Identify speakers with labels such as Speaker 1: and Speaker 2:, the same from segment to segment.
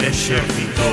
Speaker 1: ejército.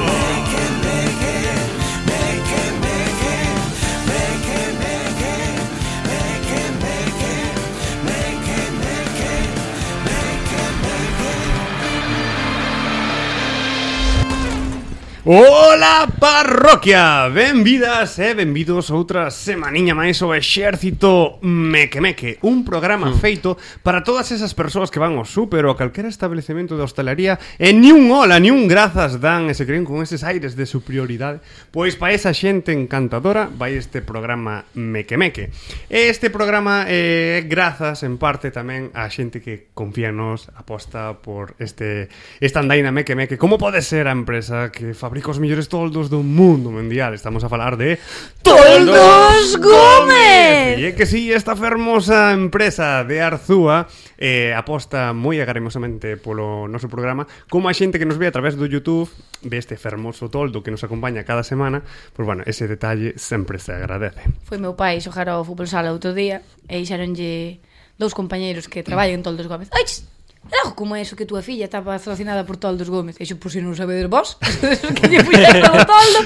Speaker 1: Ola parroquia, benvidas e benvidos outra semaniña máis ao Exército Mequemeque Un programa feito para todas esas persoas que van ao súper ou a calquera establecemento de hostalería E ni un hola, ni un grazas dan e se creen con eses aires de superioridade Pois Pues para esa xente encantadora vai este programa Mequemeque E este programa é eh, grazas en parte tamén á xente que confía en nos aposta por este esta andaina Mequemeque Como pode ser a empresa que fabrica os mellores toldos do mundo mundial. Estamos a falar de
Speaker 2: Toldos Gómez.
Speaker 1: E é que si sí, esta fermosa empresa de Arzúa eh, aposta moi agaremosamente polo noso programa, como a xente que nos ve a través do YouTube ve este fermoso toldo que nos acompaña cada semana, pois pues, bueno, ese detalle sempre se agradece.
Speaker 2: Foi meu pai xogar ao fútbol sala outro día e xeronlle dous compañeiros que traballan en Toldos Gómez. Ai, chis, Era algo como eso que túa filla estaba patrocinada por Toldos Gómez. E xo, por si non sabedes vos, que lle puxeras todo toldo.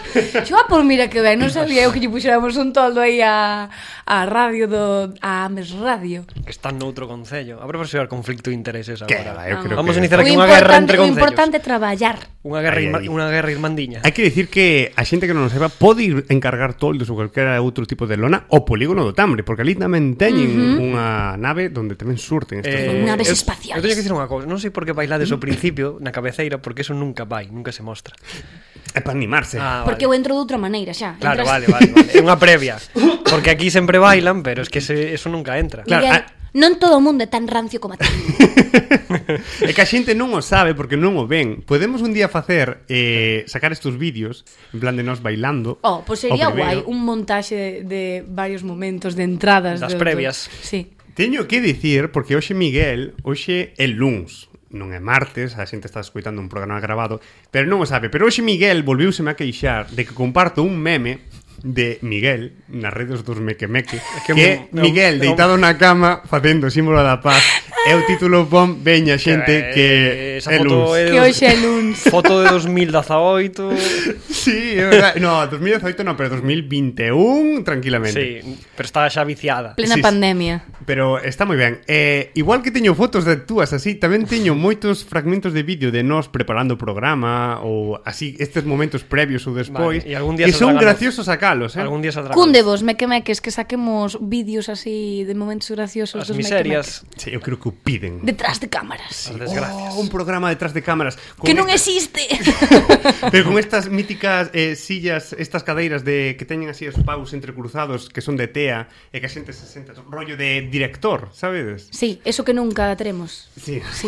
Speaker 2: Xo, ah, por mira que ben, non sabía eu que lle puxéramos un toldo aí a, a radio do... a Ames Radio.
Speaker 3: Que están noutro concello. Habrá por xerar conflicto de intereses
Speaker 1: Que
Speaker 3: agora.
Speaker 1: va, eu creo
Speaker 3: Vamos a
Speaker 1: que...
Speaker 3: iniciar aquí
Speaker 2: O
Speaker 3: unha guerra
Speaker 2: importante-
Speaker 3: entre
Speaker 2: o
Speaker 3: concellos.
Speaker 2: importante é traballar.
Speaker 3: Unha guerra,
Speaker 1: Ai,
Speaker 3: irma-
Speaker 1: ai.
Speaker 3: unha guerra irmandiña.
Speaker 1: Hai que dicir que a xente que non o saiba pode ir encargar toldos ou calquera outro tipo de lona ao polígono do Tambre, porque ali tamén teñen uh -huh. unha nave donde tamén surten estes
Speaker 3: Eh,
Speaker 2: Naves
Speaker 3: eu-
Speaker 2: espaciais.
Speaker 3: Eu teño que dicir unha cousa, non sei por que bailades ao principio na cabeceira, porque eso nunca vai, nunca se mostra.
Speaker 1: É para animarse.
Speaker 3: Ah,
Speaker 2: Porque eu
Speaker 3: vale.
Speaker 2: entro de outra maneira xa.
Speaker 3: Claro, vale,
Speaker 2: Entras-
Speaker 3: vale, vale. É unha previa. Porque aquí sempre bailan, pero es que ese, eso nunca entra.
Speaker 1: Claro,
Speaker 2: Miguel,
Speaker 1: ah-
Speaker 2: non todo o mundo é tan rancio como a ti.
Speaker 1: é que a xente non o sabe porque non o ven. Podemos un día facer eh, sacar estes vídeos en plan de nós bailando.
Speaker 2: Oh, pois sería
Speaker 1: O primeiro.
Speaker 2: guai un montaxe de, de varios momentos de entradas
Speaker 3: Das
Speaker 2: de
Speaker 3: previas.
Speaker 2: Sí.
Speaker 1: Teño que dicir porque hoxe Miguel, hoxe é luns, non é martes, a xente está escuitando un programa grabado, pero non o sabe, pero hoxe Miguel volviuseme a queixar de que comparto un meme de Miguel nas redes dos mequemeque
Speaker 3: que
Speaker 1: que, que é
Speaker 3: é un- é
Speaker 1: Miguel
Speaker 3: un-
Speaker 1: deitado na cama facendo o símbolo da paz é o título bom veña xente
Speaker 3: Eh,
Speaker 1: que
Speaker 3: esa
Speaker 1: é
Speaker 3: foto
Speaker 1: luns
Speaker 3: é
Speaker 2: Que
Speaker 3: dos-
Speaker 2: hoxe é luns.
Speaker 3: Foto de 2018.
Speaker 1: Sí, é verdade. No, 2018 no, pero 2021 tranquilamente.
Speaker 3: Sí, pero está xa viciada.
Speaker 1: Sí,
Speaker 2: Plena
Speaker 1: sí.
Speaker 2: pandemia.
Speaker 1: Pero está moi ben. Eh, igual que teño fotos de túas así, tamén teño moitos fragmentos de vídeo de nós preparando o programa ou así estes momentos previos ou
Speaker 3: Vale,
Speaker 1: despois.
Speaker 3: e algún día
Speaker 1: que
Speaker 3: saldrán
Speaker 1: son
Speaker 3: a luz.
Speaker 1: graciosos sacalos, eh?
Speaker 3: Algún día saldrá.
Speaker 2: Cúndevos, mequemeques, que saquemos vídeos así de momentos graciosos
Speaker 3: As
Speaker 2: dos
Speaker 3: miserias,
Speaker 1: Sí, eu creo que o piden.
Speaker 2: mequemeques. Detrás de cámaras.
Speaker 3: as desgracias.
Speaker 1: Oh, un programa detrás de cámaras.
Speaker 3: Ah,
Speaker 1: con
Speaker 2: Que non
Speaker 1: esta-
Speaker 2: existe.
Speaker 1: Pero con estas míticas eh, sillas, estas cadeiras de que teñen así os paus entrecruzados que son de tea e que a xente se senta rollo de director, sabedes?
Speaker 2: sí, eso que nunca teremos.
Speaker 1: Sí.
Speaker 2: Sí.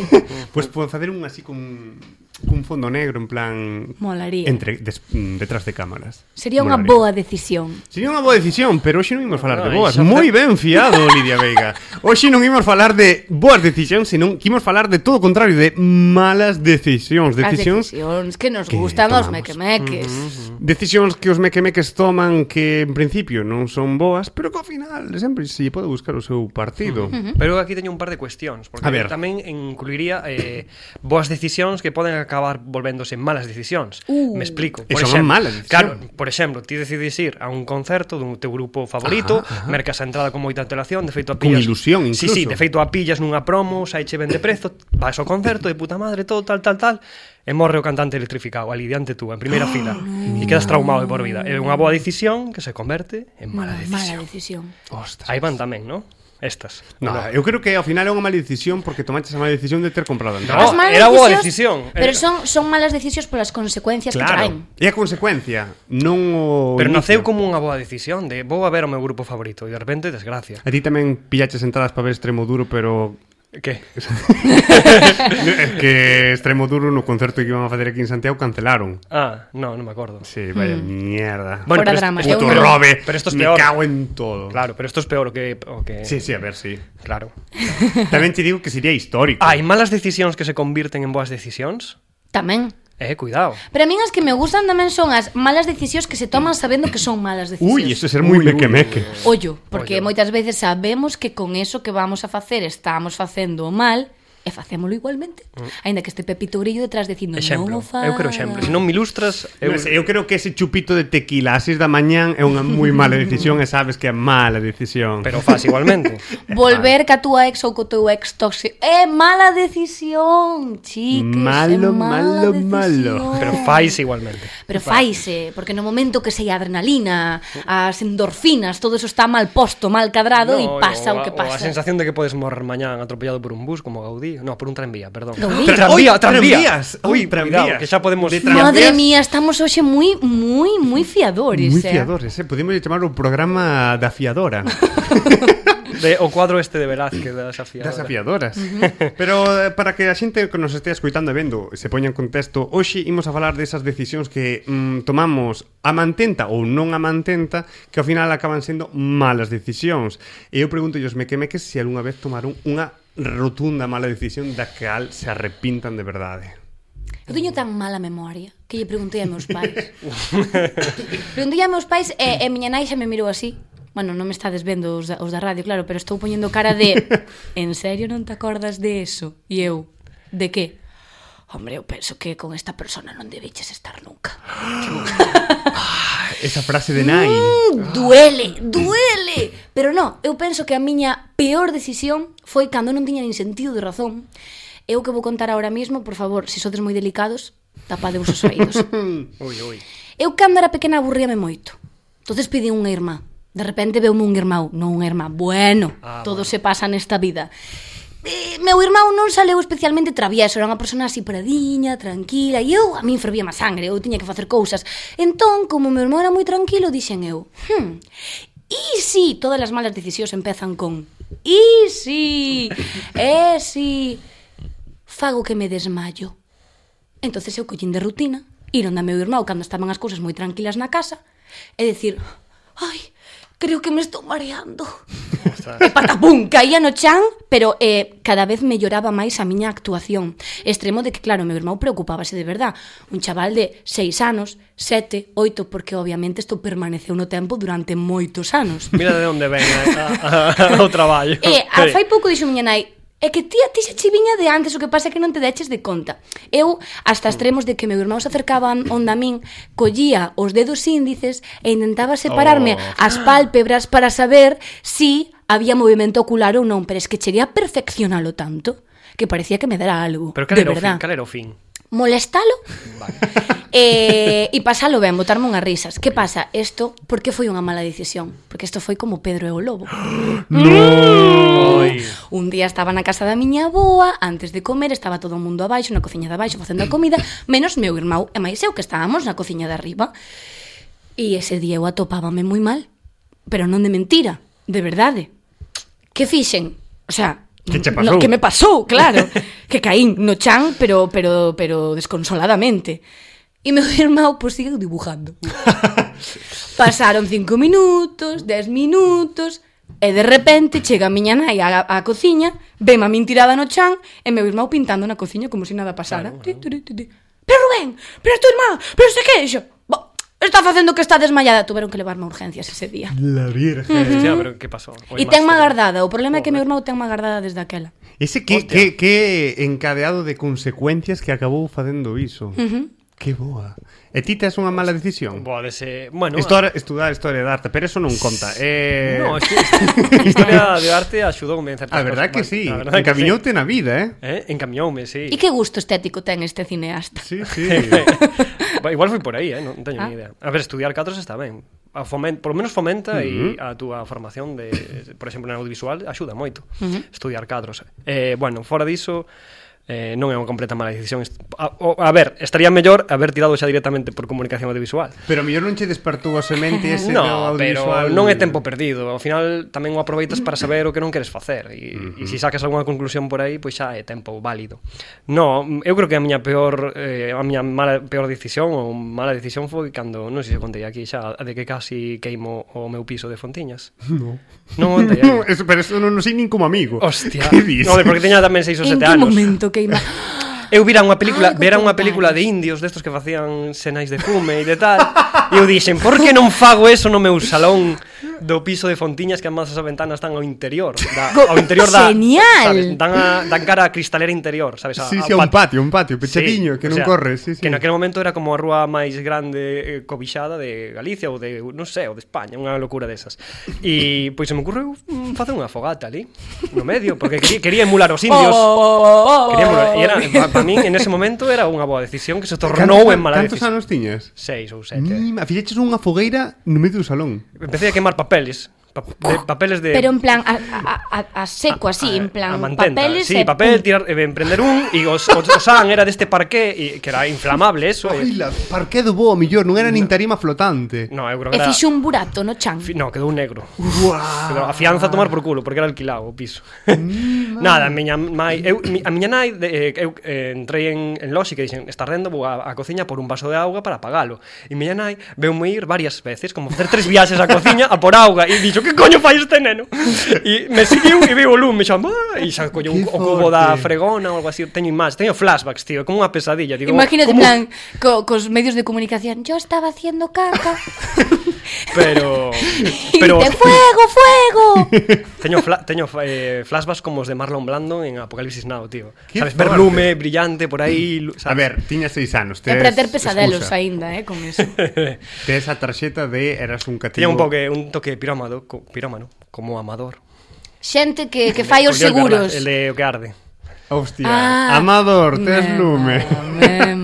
Speaker 1: Pois pues, facer un así con cun fondo negro en plan
Speaker 2: Molaría.
Speaker 1: entre des, mm, detrás de cámaras.
Speaker 2: Sería unha
Speaker 1: Molaría.
Speaker 2: boa decisión.
Speaker 1: Sería unha boa decisión, pero hoxe non imos falar de
Speaker 3: Ai,
Speaker 1: boas.
Speaker 3: xa
Speaker 1: Moi ben fiado, Lidia Veiga. Hoxe non imos falar de boas decisións, senón que imos falar de todo o contrario, de malas decisións,
Speaker 2: As
Speaker 1: decisións
Speaker 2: decisións que nos
Speaker 1: que
Speaker 2: gustan os
Speaker 1: tomamos.
Speaker 2: mequemeques.
Speaker 3: Mm-hmm,
Speaker 1: Decisións que os mequemeques toman que en principio non son boas, pero que ao final sempre se lle pode buscar o seu partido.
Speaker 3: Pero aquí teño un par de cuestións porque
Speaker 1: A ver.
Speaker 3: tamén incluiría eh, boas decisións que poden acabar volvéndose malas decisións.
Speaker 2: Uh.
Speaker 3: Me explico.
Speaker 1: E son malas decisións.
Speaker 3: Claro, por exemplo, ti decides ir a un concerto dun teu grupo favorito, ajá, ajá. mercas a entrada con moita antelación, de feito a
Speaker 1: Con
Speaker 3: pillas.
Speaker 1: ilusión,
Speaker 3: Sí,
Speaker 1: incluso.
Speaker 3: sí, de feito a pillas nunha promo, saiche ben de prezo, vas ao concerto de puta madre, todo tal tal tal. E morre o cantante electrificado ali diante tú, en primeira fila. E quedas traumado de por vida. É unha boa decisión que se converte en mm-hmm. mala decisión.
Speaker 2: Mala decisión.
Speaker 1: Ostras.
Speaker 3: Aí van tamén, non? Estas.
Speaker 1: No,
Speaker 3: Ora.
Speaker 1: eu creo que ao final é unha mala decisión porque tomaste a mala decisión de ter comprado a entrada.
Speaker 3: No,
Speaker 2: As malas
Speaker 3: Ah, era boa
Speaker 2: decisións,
Speaker 3: decisión. Eh.
Speaker 2: Pero
Speaker 3: Era-
Speaker 2: son son malas decisións polas consecuencias que traen.
Speaker 1: Claro, e a consecuencia, non o
Speaker 3: Pero
Speaker 1: Pois inicio.
Speaker 3: naceu como unha boa decisión de vou a ver o meu grupo favorito e de repente desgracia.
Speaker 1: A ti tamén pillaches entradas para ver Extremo Duro, pero
Speaker 3: Que?
Speaker 1: é que Extremo Duro no concerto que iban a facer aquí en Santiago cancelaron.
Speaker 3: Ah, no, non me acordo.
Speaker 1: Sí, vaya
Speaker 3: Hmm.
Speaker 1: mierda.
Speaker 2: Bueno, Fora
Speaker 3: pero
Speaker 2: drama,
Speaker 3: este-
Speaker 2: eu
Speaker 1: Puto
Speaker 2: non-
Speaker 1: robe,
Speaker 3: Pero esto es
Speaker 1: me
Speaker 3: peor.
Speaker 1: cago en todo.
Speaker 3: Claro, pero esto es peor o que o que
Speaker 1: Sí, sí, a ver, sí.
Speaker 3: claro.
Speaker 1: Tamén te digo que sería histórico.
Speaker 3: Hai malas decisións que se convirten en boas decisións?
Speaker 2: Tamén.
Speaker 3: Eh, cuidado.
Speaker 2: Pero a min as que me gustan tamén son as malas decisións que se toman sabendo que son malas decisións.
Speaker 1: Ui, isto é ser moi mequemeque.
Speaker 2: Ollo, porque
Speaker 3: Ollo.
Speaker 2: moitas veces sabemos que con eso que vamos a facer estamos facendo o mal e facémoslo igualmente. Ainda que este Pepito Grillo detrás dicindo
Speaker 3: Mm. Exemplo,
Speaker 2: non o fagas.
Speaker 3: eu quero exemplo. Se non me ilustras,
Speaker 1: Eu,
Speaker 3: eu,
Speaker 1: eu creo que ese chupito de tequila ás 6 da mañán é unha moi mala decisión e sabes que é mala decisión.
Speaker 3: pero faz igualmente.
Speaker 2: Volver ca túa ex ou co teu ex tóxico. É mala decisión, chiques.
Speaker 1: Malo,
Speaker 2: é
Speaker 1: malo,
Speaker 2: mala
Speaker 1: malo.
Speaker 2: decisión.
Speaker 3: Pero fais igualmente.
Speaker 2: Pero faise, porque no momento que sei a adrenalina, as endorfinas, todo eso está mal posto, mal cadrado e
Speaker 3: No,
Speaker 2: pasa o
Speaker 3: a-
Speaker 2: que
Speaker 3: a
Speaker 2: pasa.
Speaker 3: sensación de que podes morrer mañán atropellado por un bus como Gaudí, no, por un tranvía, perdón.
Speaker 2: Gaudí.
Speaker 3: Tra- Tranvía,
Speaker 1: Oi,
Speaker 3: tranvía.
Speaker 1: tranvías. Oi,
Speaker 3: Ui, cuidado,
Speaker 1: tranvías.
Speaker 3: que xa podemos
Speaker 1: De tranvías.
Speaker 2: Madre mía, estamos hoxe moi, moi, moi fiadores.
Speaker 1: Moi
Speaker 2: eh.
Speaker 1: fiadores, eh? Podemos chamar un programa da fiadora.
Speaker 3: De, o cuadro este de Velázquez da desafiadora.
Speaker 1: Das afiadoras. Pero eh, para que a xente que nos estea escoitando e vendo se poña en contexto, hoxe imos a falar desas decisións que mm, tomamos a mantenta ou non a mantenta, que ao final acaban sendo malas decisións. E eu pregunto ellos me queme que se algunha vez tomaron unha rotunda mala decisión da cal se arrepintan de verdade.
Speaker 2: Eu teño tan mala memoria que lle preguntei a meus pais. preguntei a meus pais e, e miña nai xa me mirou así. Bueno, non me estades vendo os da, os da radio, claro, pero estou poñendo cara de en serio non te acordas de eso? E eu, de que? Hombre, eu penso que con esta persona non debeches estar nunca.
Speaker 1: Esa frase de Nai.
Speaker 2: Mm, Duele, duele. Pero no, eu penso que a miña peor decisión foi cando non tiña nin sentido de razón. Eu que vou contar ahora mismo, por favor, se sodes moi delicados, tapade os oídos.
Speaker 3: Ui, ui.
Speaker 2: Eu cando era pequena aburríame moito. Entonces pedi unha irmá. De repente veume un irmão, non unha irmá. Bueno,
Speaker 3: Ah,
Speaker 2: ah, todo bueno. se pasa nesta vida. Eh, meu irmão non saleu especialmente travieso, era unha persona así paradiña, tranquila, e eu a min fervía má sangre, eu tiña que facer cousas. Entón, como meu irmão era moi tranquilo, dixen eu, hmm, e si todas as malas decisións empezan con e si, e si, fago que me desmayo. Entonces eu collín de rutina, ir onda meu irmão cando estaban as cousas moi tranquilas na casa, e dicir, ai, creo que me estou mareando. E patapum, caía no chan, pero eh, cada vez me lloraba máis a miña actuación. Extremo de que, claro, meu irmão preocupábase de verdad. Un chaval de seis anos, sete, oito, porque obviamente isto permaneceu no tempo durante moitos anos.
Speaker 3: Mira de onde ven a, a, a, eh, o traballo.
Speaker 2: E Eh, a
Speaker 3: Sí.
Speaker 2: fai pouco dixo miña nai É que tía, ti xa chiviña de antes, o que pasa é que non te deches de conta. Eu, hasta extremos de que meu irmão se acercaban onda a min, collía os dedos índices e intentaba
Speaker 1: Oh.
Speaker 2: separarme as pálpebras para saber si había movimento ocular ou non, pero es que cheguei a perfeccionalo tanto que parecía que me dera algo,
Speaker 3: Pero cal
Speaker 2: de
Speaker 3: era, o fin,
Speaker 2: verdad.
Speaker 3: cal era o fin?
Speaker 2: Molestalo
Speaker 3: Vale.
Speaker 2: e, e pasalo ben, botarme unhas risas. Que pasa? Isto, por que foi unha mala decisión? Porque isto foi como Pedro e o Lobo.
Speaker 3: Oi.
Speaker 1: Pois.
Speaker 2: Un día estaba na casa da miña aboa, antes de comer estaba todo o mundo abaixo, na cociña de abaixo facendo a comida, menos meu irmão e máis eu que estábamos na cociña de arriba. E ese día eu atopábame moi mal, pero non de mentira, de verdade. Que fixen? O sea,
Speaker 1: Que che
Speaker 2: no,
Speaker 1: pasou?
Speaker 2: que me pasou, claro. que caín no chan, pero pero pero desconsoladamente. E meu irmão pois sigue dibujando. Pasaron cinco minutos, dez minutos, e de repente chega a miña nai á, á cociña, vema a min tirada no chan, e meu irmão pintando na cociña como se nada pasara. Ti, ti, ti, ti. Pero Rubén, pero a tua irmá, pero sei que é iso. Bo, está facendo que está desmayada. Tuveron que levarme a urgencias ese día.
Speaker 1: La virgen.
Speaker 3: Ya, pero que pasou? Oi,
Speaker 2: E tenme
Speaker 3: máster.
Speaker 2: agardada. O problema é que meu irmão tenme agardada desde aquela.
Speaker 1: Ese que,
Speaker 3: Hostia.
Speaker 1: que, que encadeado de consecuencias que acabou facendo iso. Uh -huh. Que boa. E ti tes unha mala decisión?
Speaker 3: Boa, dese... Bueno,
Speaker 1: Histori estudar historia de arte, pero eso non conta. Eh,
Speaker 3: No, es que historia de arte axudoume en certas
Speaker 1: a verdad que
Speaker 3: cosas.
Speaker 1: sí.
Speaker 3: Vale, a verdad que
Speaker 1: Encaminhoute na vida, eh?
Speaker 3: sí. Eh, encaminhoume, sí.
Speaker 2: E que gusto estético ten este cineasta.
Speaker 1: Sí, sí.
Speaker 3: Ba, Igual foi por aí, eh? non teño
Speaker 2: Ah.
Speaker 3: ni idea. A ver, estudiar catros está ben. A fomen, por lo menos fomenta e a túa formación de, por exemplo, en audiovisual axuda moito. Uh -huh. Estudiar catros. Eh, bueno, fora diso, eh, non é unha completa mala decisión. Est- A, o, a ver, estaría mellor haber tirado xa directamente por comunicación audiovisual.
Speaker 1: Pero mellor non che despertou a semente ese
Speaker 3: No,
Speaker 1: do
Speaker 3: pero
Speaker 1: audiovisual.
Speaker 3: non é tempo perdido Ao final tamén o aproveitas para saber o que non queres facer E, uh -huh. e se sacas algunha conclusión por aí Pois xa é tempo válido No, mm, eu creo que a miña peor eh, A miña mala, peor decisión Ou mala decisión foi cando, non sei se contei aquí xa a De que casi queimo o meu piso de Fontiñas
Speaker 1: No.
Speaker 3: Non contei
Speaker 1: No,
Speaker 3: aí
Speaker 1: eso, pero eso non o sei nin como amigo.
Speaker 3: Hostia,
Speaker 1: Que dis?
Speaker 3: no, porque teña tamén 6 ou
Speaker 2: En
Speaker 3: 7
Speaker 2: que
Speaker 3: anos
Speaker 2: momento que ima...
Speaker 3: Eu vira unha película,
Speaker 2: Algo
Speaker 3: vera unha
Speaker 2: contares.
Speaker 3: película de indios destos que facían senais de fume e de tal. E eu dixen, por que non fago eso no meu salón? do piso de Fontiñas que además esas ventanas están ao interior da, ao interior da,
Speaker 2: Genial.
Speaker 3: sabes, dan, a, dan cara a cristalera interior sabes, a, a
Speaker 1: Sí, sí, a un patio, un patio, pechadiño,
Speaker 3: o
Speaker 1: que non
Speaker 3: sea,
Speaker 1: corre, sí, sí.
Speaker 3: Que naquele momento era como a rúa máis grande eh, cobixada de Galicia ou de, non sei, ou de España, unha locura desas. E pois se me ocurreu mm, facer unha fogata ali, no medio, porque quería, quería emular os indios.
Speaker 2: Oh,
Speaker 3: Quería emular, e era, para min, en ese momento, era unha boa decisión que se tornou en mala
Speaker 1: Oh. Cantos
Speaker 3: decisión.
Speaker 1: anos Mm. tiñas?
Speaker 3: Seis ou sete.
Speaker 1: Mima, fixeches unha fogueira no medio do salón.
Speaker 3: Empecé a quemar papeles. Pa de,
Speaker 1: Oh.
Speaker 3: papeles de...
Speaker 4: Pero en plan, a, a, a- a seco, así,
Speaker 3: a-
Speaker 4: en
Speaker 3: a
Speaker 4: plan,
Speaker 3: mantenta.
Speaker 4: papeles...
Speaker 3: Sí,
Speaker 4: e
Speaker 3: papel,
Speaker 4: pum.
Speaker 3: tirar, eh, emprender un E os, os, o san era deste parqué e, Que era inflamable, eso e-
Speaker 1: Ai, la parqué do bo, mellor, non era nin tarima flotante.
Speaker 3: No, eu
Speaker 4: E
Speaker 3: creo que era...
Speaker 4: fixo un burato no chan.
Speaker 3: Fi- No, quedou negro. Quedou a fianza a tomar por culo, porque era alquilado o piso. Nada, a miña mai, eu, mi- a miña nai de, eh, eu eh, entrei en, en Loxi que dixen, está rendo vou a, a cociña por un vaso de auga para pagalo. E miña nai veume ir varias veces, como facer tres viaxes á cociña a por auga e dixo, que coño fai este neno? E me seguiu e viu o lume, me chamou, "Ah", e xa colleu
Speaker 1: Que
Speaker 3: o cubo da
Speaker 1: forte.
Speaker 3: fregona ou algo así, teño imaxes, teño flashbacks, tío, é como unha pesadilla, digo,
Speaker 2: Imagínate, en
Speaker 3: como...
Speaker 2: plan, co, cos medios de comunicación. Yo estaba haciendo caca.
Speaker 3: pero
Speaker 2: y
Speaker 3: pero
Speaker 2: grité, ¡Fuego, fuego!
Speaker 3: Teño, fla teño eh, flashbacks como os de Marlon Blando en Apocalipsis Now, tío.
Speaker 1: Qué
Speaker 3: sabes, ver
Speaker 1: fuerte.
Speaker 3: lume brillante por aí, lu-
Speaker 1: A
Speaker 3: sabes?
Speaker 1: ver, tiñas seis anos,
Speaker 2: É
Speaker 1: tes...
Speaker 2: para ter pesadelos
Speaker 1: excusa.
Speaker 2: aínda, eh, con eso.
Speaker 1: Tes a tarxeta de eras un cativo.
Speaker 3: tiña un poque un toque pirómano, co pirómano como amador.
Speaker 4: Xente que, que fai os
Speaker 3: Colleu
Speaker 4: seguros.
Speaker 3: el garla- El de o que arde.
Speaker 1: Hostia,
Speaker 2: Ah,
Speaker 1: Amador, tes
Speaker 2: mema,
Speaker 1: lume.
Speaker 2: mema.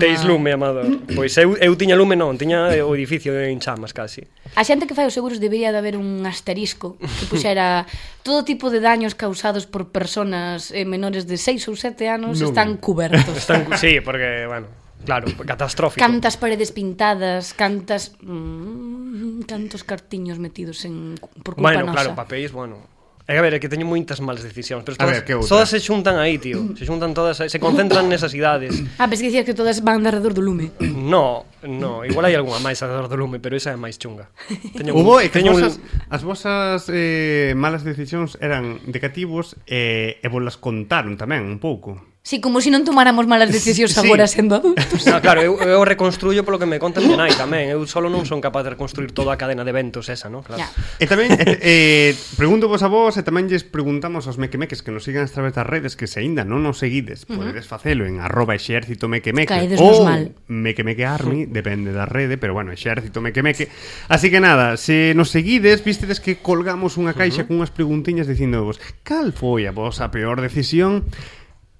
Speaker 3: Teis lume, amador. Pois eu, eu tiña lume non, tiña eh, o edificio en chamas casi.
Speaker 2: A xente que fai os seguros debería de haber un asterisco que puxera todo tipo de daños causados por personas eh, menores de 6 ou 7 anos
Speaker 1: Non.
Speaker 2: están cubertos.
Speaker 3: Están, sí, porque bueno, claro, catastrófico.
Speaker 2: Cantas paredes pintadas, cantas mm, cantos cartiños metidos en por culpa
Speaker 3: bueno,
Speaker 2: nosa.
Speaker 3: claro, papéis, bueno. É que, a ver, é que teño moitas malas decisións, pero
Speaker 1: A
Speaker 3: todas,
Speaker 1: ver, que outra?
Speaker 3: todas se xuntan aí, tío. Se xuntan todas, aí, se concentran nesas idades.
Speaker 2: Ah, pero es que dicías que todas van de alrededor do lume.
Speaker 3: No, no, igual hai algunha máis a dar do lume, pero esa é máis chunga. Teño
Speaker 1: Hubo, e que
Speaker 3: teño
Speaker 1: as
Speaker 3: un-
Speaker 1: vosas, as vosas eh, malas decisións eran de cativos eh, e vos las contaron tamén un pouco.
Speaker 2: Sí, como se si non tomáramos malas decisións
Speaker 1: Sí.
Speaker 2: agora sendo adultos.
Speaker 3: No, Ah, claro, eu, eu reconstruyo polo que me conta miña nai tamén. Eu solo non son capaz de reconstruir toda a cadena de eventos esa, ¿no? Claro.
Speaker 2: Ya.
Speaker 1: E tamén e, eh, pregunto vos a vos e tamén lles preguntamos aos mequemeques que nos sigan a través das redes que se aínda non nos seguides, podedes facelo en arroba exército mequemeque
Speaker 2: Caedes
Speaker 1: ou
Speaker 2: nos mal.
Speaker 1: mequemeque army, depende da rede, pero bueno, exército mequemeque. Así que nada, se nos seguides, vístedes que colgamos unha caixa cunhas preguntiñas dicindo vos, cal foi a vosa peor decisión?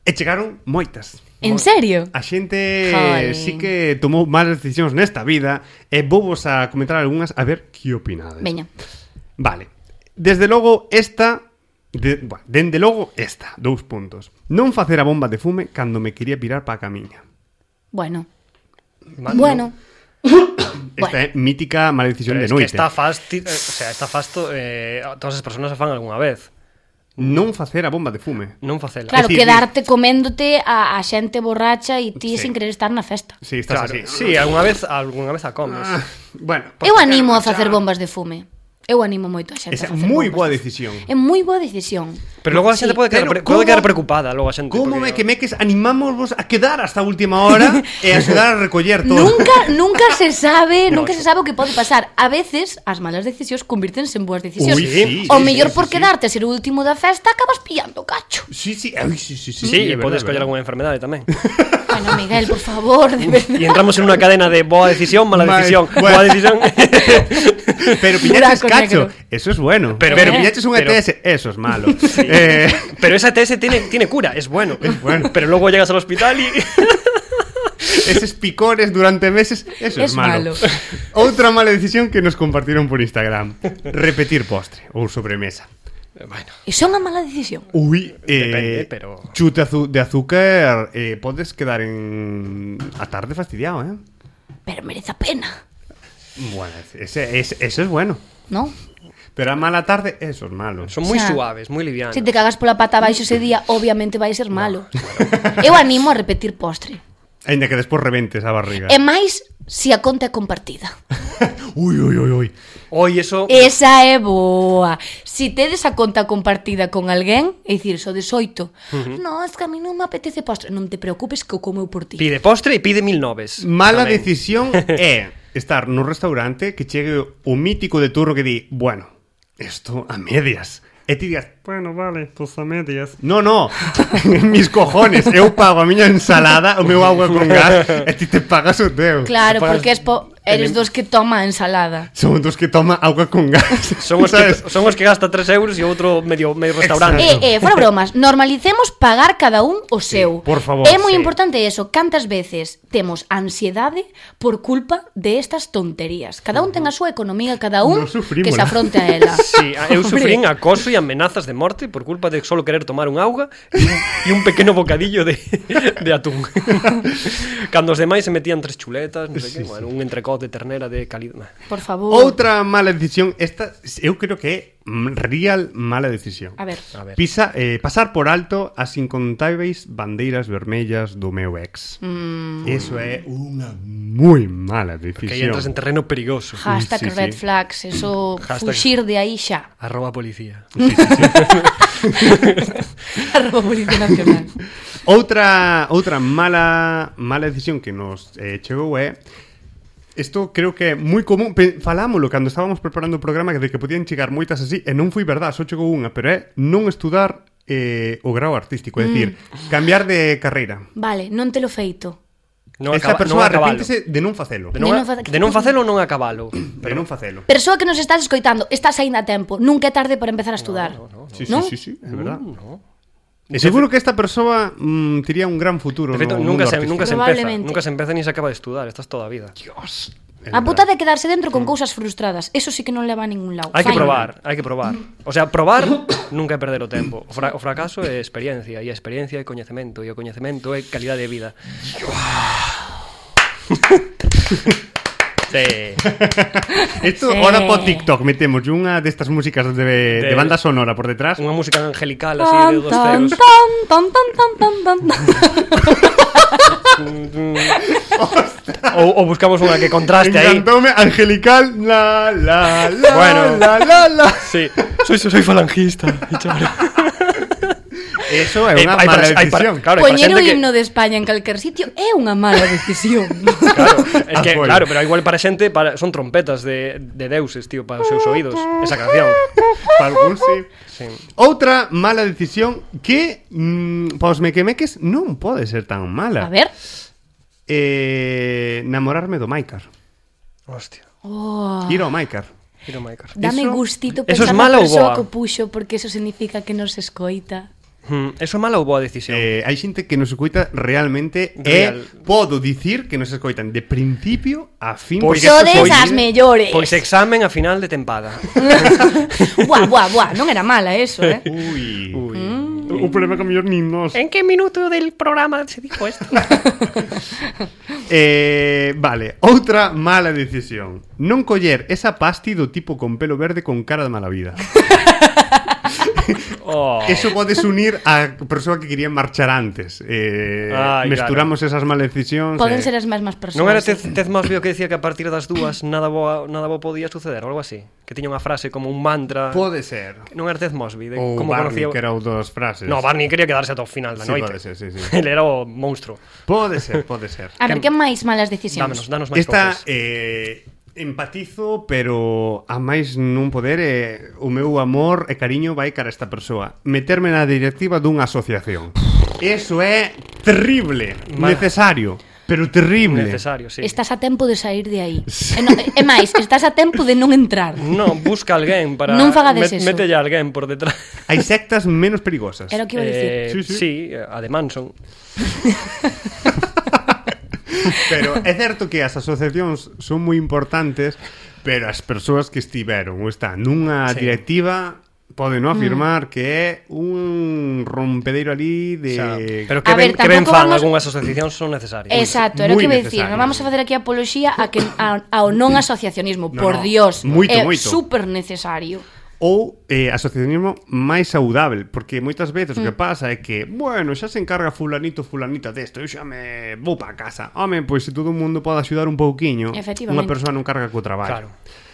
Speaker 1: E chegaron moitas.
Speaker 2: En serio?
Speaker 1: A xente
Speaker 2: Jolín.
Speaker 1: sí que tomou malas decisións nesta vida e vou vos a comentar algunhas a ver que opinades.
Speaker 2: Veña.
Speaker 1: Vale. Desde logo esta de, bueno, dende logo esta, dous puntos. Non facer a bomba de fume cando me quería pirar pa a camiña.
Speaker 2: Bueno.
Speaker 3: Ma-
Speaker 2: Bueno.
Speaker 1: Esta é mítica mala decisión
Speaker 3: Pero
Speaker 1: de
Speaker 3: es que
Speaker 1: noite.
Speaker 3: está fasti, eh, o sea, está fasto eh, todas as persoas a fan algunha vez.
Speaker 1: Non facer a bomba de fume.
Speaker 3: Non facela.
Speaker 4: Claro,
Speaker 1: Es decir,
Speaker 4: quedarte coméndote a, a xente borracha e ti
Speaker 1: Sí.
Speaker 4: sin querer estar na festa.
Speaker 1: Si, sí, estás
Speaker 3: Claro,
Speaker 1: así.
Speaker 3: sí, algunha vez, algunha vez a comes.
Speaker 1: Ah, bueno,
Speaker 4: Eu animo a facer bombas de fume. Eu animo moito a xente
Speaker 1: Esa
Speaker 4: a
Speaker 1: é
Speaker 4: facer
Speaker 1: moi boa
Speaker 4: bombas de
Speaker 1: decisión.
Speaker 4: fume. É moi boa decisión.
Speaker 3: Pero logo a
Speaker 4: Sí,
Speaker 3: xente pode quedar, pre
Speaker 1: pero
Speaker 3: pode quedar
Speaker 1: como-
Speaker 3: preocupada, logo a xente.
Speaker 1: Como
Speaker 3: porque-
Speaker 1: me que meques animamos vos a quedar hasta a última hora e axudar a recoller todo.
Speaker 2: Nunca, nunca se sabe,
Speaker 3: No,
Speaker 2: nunca se
Speaker 3: eso-
Speaker 2: sabe o que pode pasar. A veces as malas decisións convírtense en boas decisións.
Speaker 1: Ui, sí,
Speaker 2: o
Speaker 1: sí,
Speaker 2: mellor
Speaker 1: sí,
Speaker 2: por
Speaker 1: sí,
Speaker 2: quedarte a ser o último da festa acabas pillando cacho.
Speaker 1: Sí, sí, ai, sí, sí, sí.
Speaker 3: Sí, e
Speaker 1: é
Speaker 3: podes coller
Speaker 1: verdade, verdade.
Speaker 3: algunha enfermedade tamén.
Speaker 2: Bueno, Miguel, por favor, de
Speaker 3: E
Speaker 2: verdad.
Speaker 3: entramos en unha cadena de boa decisión, mala
Speaker 1: Mal-
Speaker 3: decisión,
Speaker 1: bueno.
Speaker 3: boa decisión.
Speaker 1: Pero pillaches
Speaker 2: Buraco
Speaker 1: cacho,
Speaker 2: negro.
Speaker 1: eso es bueno. Pero,
Speaker 3: Pero-
Speaker 1: pillaches un
Speaker 3: pero-
Speaker 1: ETS, eso es malo. Eh,
Speaker 3: Pero esa ETS tiene, tiene cura, es bueno.
Speaker 1: Es bueno.
Speaker 3: Pero luego llegas al hospital y.
Speaker 1: esos picores durante meses, eso es,
Speaker 2: Es
Speaker 1: malo.
Speaker 2: malo.
Speaker 1: Outra mala decisión que nos compartieron por Instagram. Repetir postre ou sobremesa.
Speaker 3: bueno.
Speaker 2: Iso é unha mala decisión.
Speaker 1: Ui,
Speaker 3: Depende,
Speaker 1: eh,
Speaker 3: pero-
Speaker 1: chute azu- de azúcar eh, podes quedar en a tarde fastidiado, eh?
Speaker 2: Pero merece a pena,
Speaker 1: Bueno, ese, ese- eso es bueno.
Speaker 2: non?
Speaker 1: Pero a mala tarde, eso es malo.
Speaker 3: Son muy
Speaker 2: O sea,
Speaker 3: suaves, muy livianos.
Speaker 2: Se te cagas pola pata abaixo ese día, obviamente vai ser malo. Eu animo a repetir postre.
Speaker 1: Ainda que despois reventes a barriga.
Speaker 2: E máis, se a conta é compartida.
Speaker 1: Ui, ui, ui, ui.
Speaker 3: Hoy eso.
Speaker 2: Esa é boa. Si tedes a conta compartida con alguén, é dicir, so desoito. No, es que a mí non me apetece postre. Non te preocupes que o como eu por ti.
Speaker 3: Pide postre y pide mil noves.
Speaker 1: Mala
Speaker 3: Tamén.
Speaker 1: decisión é estar nun restaurante que chegue o mítico de turno que di, bueno, Esto a medias. E ti digas,
Speaker 3: Bueno, vale, pues a medias.
Speaker 1: No, no, mis cojones, eu pago a miña ensalada, o meu agua con gas, e ti te pagas o teu.
Speaker 2: Claro,
Speaker 3: Para-
Speaker 2: porque es po-
Speaker 3: Ele-
Speaker 2: eres dos que toma a ensalada.
Speaker 1: Son dos que toma agua con gas.
Speaker 3: Son os,
Speaker 1: ¿sabes?
Speaker 3: que, son os que gasta 3 euros e outro medio, medio restaurante.
Speaker 1: Exacto.
Speaker 2: Eh, eh, fora bromas, normalicemos pagar cada un o seu.
Speaker 1: por favor,
Speaker 2: É moi
Speaker 1: sí.
Speaker 2: importante eso, cantas veces temos ansiedade por culpa de estas tonterías. Cada un ten a súa economía, cada un
Speaker 1: Nos sufrimos,
Speaker 2: que
Speaker 1: ¿no?
Speaker 2: se afronte a ela.
Speaker 3: Sí, a- eu sufrín acoso e amenazas de morte por culpa de solo querer tomar un auga e un, e un pequeno bocadillo de, de atún. Cando os demais se metían tres chuletas, non sei que, bueno, un entrecot de ternera de calidad.
Speaker 2: Por favor.
Speaker 1: Outra mala decisión, esta eu creo que é mm, real mala decisión.
Speaker 2: A ver.
Speaker 3: A ver.
Speaker 1: Pisa, eh, pasar por alto as incontáveis bandeiras vermellas do meu ex.
Speaker 2: Mm.
Speaker 1: Eso é unha moi mala
Speaker 3: Que aí
Speaker 1: decisión.
Speaker 3: entras en terreno perigoso.
Speaker 2: Hashtag
Speaker 1: Sí, sí.
Speaker 2: red flags, eso
Speaker 3: Hashtag-
Speaker 2: fuxir de aí xa.
Speaker 3: Arroba policía.
Speaker 5: Arroba Policía Nacional.
Speaker 1: Outra outra mala mala decisión que nos eh, chegou é Isto creo que é moi común Pe- Falámoslo cando estábamos preparando o programa De que podían chegar moitas así E non foi verdad, só chegou unha Pero é non estudar eh, o grau artístico É dicir,
Speaker 3: Mm.
Speaker 1: cambiar de carreira
Speaker 2: Vale, non te lo feito.
Speaker 3: Non
Speaker 1: Esta
Speaker 3: acaba-
Speaker 1: persoa
Speaker 3: non acabalo.
Speaker 1: arrepíntese de non facelo
Speaker 3: De
Speaker 1: De
Speaker 3: non, a-
Speaker 2: De non fa-
Speaker 3: de non facelo non acabalo. Pero
Speaker 1: non facelo
Speaker 2: Persoa que nos estás escoitando, estás aínda a tempo, nunca é tarde para empezar a estudar.
Speaker 1: Sí, sí,
Speaker 2: ¿No?
Speaker 1: sí, sí, é verdad
Speaker 3: Mm, no.
Speaker 1: E seguro que esta persoa mm, tiría un gran futuro
Speaker 3: De feito,
Speaker 1: no
Speaker 3: nunca
Speaker 1: mundo
Speaker 3: se,
Speaker 1: artístico.
Speaker 3: nunca se empeza,
Speaker 2: Probablemente.
Speaker 3: nunca se empeza ni se acaba de estudar, estás toda a vida.
Speaker 1: É
Speaker 2: A puta
Speaker 1: verdad.
Speaker 2: de quedarse dentro con cousas frustradas, eso sí que non leva a ningún lado.
Speaker 3: Hai que
Speaker 2: Fine.
Speaker 3: probar, hai que probar. O sea, probar nunca é perder o tempo. O, fra o fracaso é experiencia, e a experiencia é coñecemento, e o coñecemento é calidad de vida. sí.
Speaker 1: Esto,
Speaker 2: Sí.
Speaker 1: ahora por TikTok metemos unha destas músicas de, de,
Speaker 3: De-
Speaker 1: banda sonora por detrás.
Speaker 3: Unha música angelical así de
Speaker 2: Tan,
Speaker 3: dos
Speaker 2: tan,
Speaker 3: ceros.
Speaker 2: tan, tan, tan, tan, tan, tan, tan.
Speaker 3: Ou, ou buscamos unha que contraste aí.
Speaker 1: Encantome, angelical, la, la, la,
Speaker 3: Bueno.
Speaker 1: la, la, la.
Speaker 3: Sí, soy, soy falangista. e chora.
Speaker 1: Eso é
Speaker 3: Eh,
Speaker 1: unha
Speaker 3: hai para- hai
Speaker 1: mala
Speaker 3: para-
Speaker 1: decisión.
Speaker 3: claro, hai para
Speaker 2: Poñer o
Speaker 3: xente que-
Speaker 2: himno de España en calquer sitio é unha mala decisión.
Speaker 3: Claro, es que,
Speaker 1: Apoio.
Speaker 3: claro, pero igual para xente para, son trompetas de, de deuses, tío, para os seus oídos, esa canción.
Speaker 1: Para algún, sí.
Speaker 3: Sí.
Speaker 1: Outra mala decisión que mm, para os mequemeques non pode ser tan mala.
Speaker 2: A ver.
Speaker 1: Eh, namorarme do Maikar.
Speaker 3: Hostia,
Speaker 2: Oh,
Speaker 1: Ir ao Maikar.
Speaker 3: tiro my car.
Speaker 2: dame
Speaker 1: Eso-
Speaker 2: gustito
Speaker 3: eso es
Speaker 2: pensar
Speaker 3: mala
Speaker 2: na
Speaker 3: ou
Speaker 2: persoa
Speaker 3: boa?
Speaker 2: que o puxo porque eso significa que nos escoita.
Speaker 3: Hmm, Eso é mala ou boa decisión?
Speaker 1: Eh, hai xente que nos escoita realmente
Speaker 3: Real.
Speaker 1: e podo dicir que nos escoitan de principio a fin
Speaker 3: Pois
Speaker 1: porque
Speaker 3: sodes
Speaker 1: isto foi-
Speaker 2: as mellores.
Speaker 3: Pois examen a final de tempada.
Speaker 2: Buah, buah, buah, non era mala eso, eh?
Speaker 1: Ui.
Speaker 3: Ui.
Speaker 1: Un problema que mellor nin nós.
Speaker 3: En que minuto del programa se dijo esto?
Speaker 1: Eh, vale, outra mala decisión. Non coller esa pasti do tipo con pelo verde con cara de mala vida.
Speaker 3: Oh.
Speaker 1: Eso podes unir a persoa que quería marchar antes. Eh,
Speaker 3: Ai,
Speaker 1: mesturamos esas malas decisións. eh.
Speaker 2: Poden ser as mesmas persoas.
Speaker 3: Non era Tez, tez Mosbio que decía que a partir das dúas nada boa, nada boa podía suceder ou algo así? Que tiña unha frase como un mantra...
Speaker 1: Pode ser.
Speaker 3: Non era Tez Mosby, de
Speaker 1: Ou
Speaker 3: como
Speaker 1: Oh,
Speaker 3: conocía...
Speaker 1: Barney, que era o dos frases.
Speaker 3: No, Barney quería quedarse ata o final da
Speaker 1: Sí,
Speaker 3: noite.
Speaker 1: pode ser, sí, sí.
Speaker 3: Ele era o monstruo.
Speaker 1: Pode ser, pode ser.
Speaker 2: A ver, que máis malas decisións?
Speaker 3: Dámenos, danos máis
Speaker 1: Esta
Speaker 3: cousas.
Speaker 1: eh, empatizo, pero a máis non poder eh, o meu amor e cariño vai cara a esta persoa. Meterme na directiva dunha asociación. Eso é terrible,
Speaker 3: Mala.
Speaker 1: necesario, pero terrible.
Speaker 3: Necesario, sí.
Speaker 2: Estás a tempo de sair de aí. E, no, e máis, estás a tempo de non entrar.
Speaker 3: No, busca alguén para...
Speaker 2: Non fagades eso.
Speaker 3: Mételle a alguén por detrás.
Speaker 1: Hai sectas menos perigosas.
Speaker 2: Era o que iba a dicir.
Speaker 3: Eh,
Speaker 1: Sí,
Speaker 3: sí,
Speaker 1: sí.
Speaker 3: sí. sí, a de Manson.
Speaker 1: Pero é certo que as asociacións son moi importantes, pero as persoas que estiveron ou están nunha
Speaker 3: Sí.
Speaker 1: directiva poden
Speaker 2: Mm.
Speaker 1: non afirmar que é un rompedeiro ali de...
Speaker 3: O sea, pero
Speaker 2: A
Speaker 3: que
Speaker 2: ver,
Speaker 3: ben, que ben
Speaker 2: tampouco
Speaker 3: fan
Speaker 2: vamos-
Speaker 3: algunhas asociacións son necesarias.
Speaker 2: Exacto, era o
Speaker 1: Muy
Speaker 2: que iba a dicir.
Speaker 1: necesario.
Speaker 2: Non vamos a facer aquí apoloxía a que, a, ao non asociacionismo,
Speaker 1: No,
Speaker 2: por
Speaker 1: no.
Speaker 2: Dios.
Speaker 1: Moito,
Speaker 2: é
Speaker 1: moito.
Speaker 2: super necesario.
Speaker 1: ou eh, asociacionismo máis saudável, porque moitas veces mm. o que pasa é que, bueno, xa se encarga fulanito fulanita desto, eu xa me vou para casa. Home, pois se todo o mundo pode axudar un pouquiño, unha
Speaker 2: Efectivamente.
Speaker 1: persoa non carga co
Speaker 3: Claro.
Speaker 1: traballo.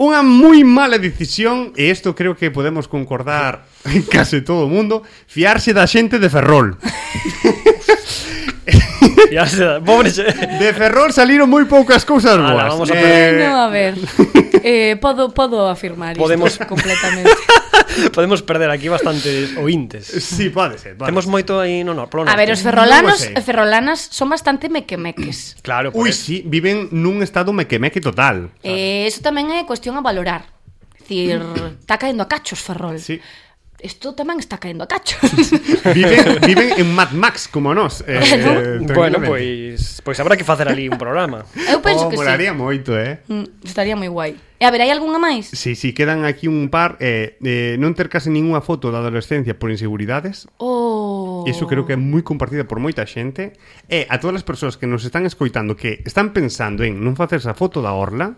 Speaker 1: Unha moi mala decisión, e isto creo que podemos concordar case todo o mundo, fiarse da xente de Ferrol.
Speaker 3: Ya se da. Pobre xe.
Speaker 1: De Ferrol saliron moi poucas cousas
Speaker 3: Ala,
Speaker 1: boas.
Speaker 3: vamos a
Speaker 1: Eh,
Speaker 5: No, a ver. Eh, podo, podo afirmar
Speaker 3: Podemos-
Speaker 5: isto completamente.
Speaker 3: Podemos perder aquí bastantes ointes.
Speaker 1: Sí, pode ser. Pode.
Speaker 3: Temos moito aí no no, polo
Speaker 2: A ver,
Speaker 3: norte.
Speaker 2: os ferrolanos
Speaker 1: Non o sei.
Speaker 2: e ferrolanas son bastante mequemeques.
Speaker 3: Claro, pois- por
Speaker 1: Ui,
Speaker 3: eso.
Speaker 1: sí, viven nun estado mequemeque total.
Speaker 2: E iso Eh, tamén é cuestión a valorar. Dicir, está caendo a cachos Ferrol.
Speaker 1: Sí.
Speaker 2: Isto tamén está caendo a cachos.
Speaker 1: Viven, viven en Mad Max, como nós. Eh,
Speaker 3: bueno,
Speaker 1: tranquilamente.
Speaker 3: pois pois habrá que facer ali un programa.
Speaker 2: Eu penso
Speaker 1: Oh,
Speaker 2: que sí.
Speaker 1: molaría moito, eh?
Speaker 2: Mm, Estaría moi guai. E a ver, hai algunha máis?
Speaker 1: Si, si quedan aquí un par eh, eh, Non ter case ninguna foto da adolescencia por inseguridades
Speaker 2: Oh.
Speaker 1: Iso creo que é moi compartida por moita xente E a todas as persoas que nos están escoitando Que están pensando en non facerse a foto da orla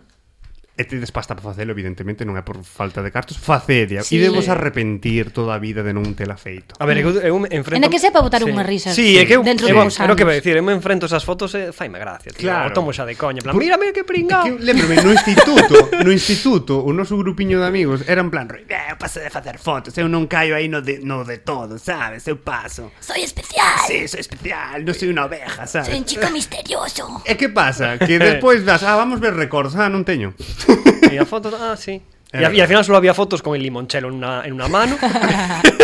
Speaker 1: E tedes pasta para facelo, evidentemente Non é por falta de cartos Facede sí.
Speaker 2: Sí.
Speaker 1: E debos arrepentir toda a vida de non tela feito
Speaker 3: A ver, eu, eu me enfrento...
Speaker 2: Ainda que sepa botar
Speaker 3: sí.
Speaker 2: unhas risas
Speaker 3: Sí, é que eu,
Speaker 2: dentro
Speaker 3: eu,
Speaker 2: de uns
Speaker 3: é o que vai
Speaker 2: anos.
Speaker 3: dicir, eu me enfrento a esas fotos e faime gracia, tío. O
Speaker 1: Claro.
Speaker 3: tomo xa de coña, en plan,
Speaker 1: Por-
Speaker 3: mira, mira que
Speaker 1: É que
Speaker 3: pringao.
Speaker 1: eu Lembrome, no instituto, no instituto, o noso grupiño de amigos era en plan, "Roi, eh, eu paso de facer fotos, eu non caio aí no de, no de todo, sabes? Eu paso.
Speaker 2: Soy especial.
Speaker 1: Sí, soy especial, non soy unha oveja,
Speaker 2: Soy
Speaker 1: sabes?
Speaker 2: un chico misterioso.
Speaker 1: E que pasa? Que despois das, ah, vamos ver records, ah, non teño.
Speaker 3: E a foto, ah, sí. E,
Speaker 1: É
Speaker 3: a- e
Speaker 1: verdade.
Speaker 3: al final solo había fotos con el limonchelo en una, en una mano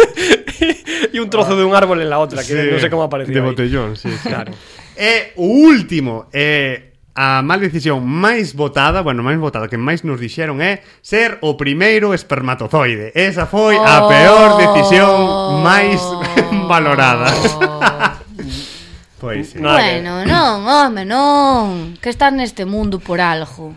Speaker 3: e un trozo de un árbol en la otra, que
Speaker 1: Sí,
Speaker 3: no sé cómo apareció
Speaker 1: De
Speaker 3: ahí.
Speaker 1: botellón, sí, sí.
Speaker 3: Claro.
Speaker 1: E o último, eh, a mal decisión máis votada, bueno, máis votada que máis nos dixeron é ser o primeiro espermatozoide. Esa
Speaker 3: Oh.
Speaker 1: foi a peor decisión
Speaker 2: Oh.
Speaker 1: máis valorada. pois sí.
Speaker 3: Nada que-
Speaker 2: bueno, non, home, non Que estás neste mundo por algo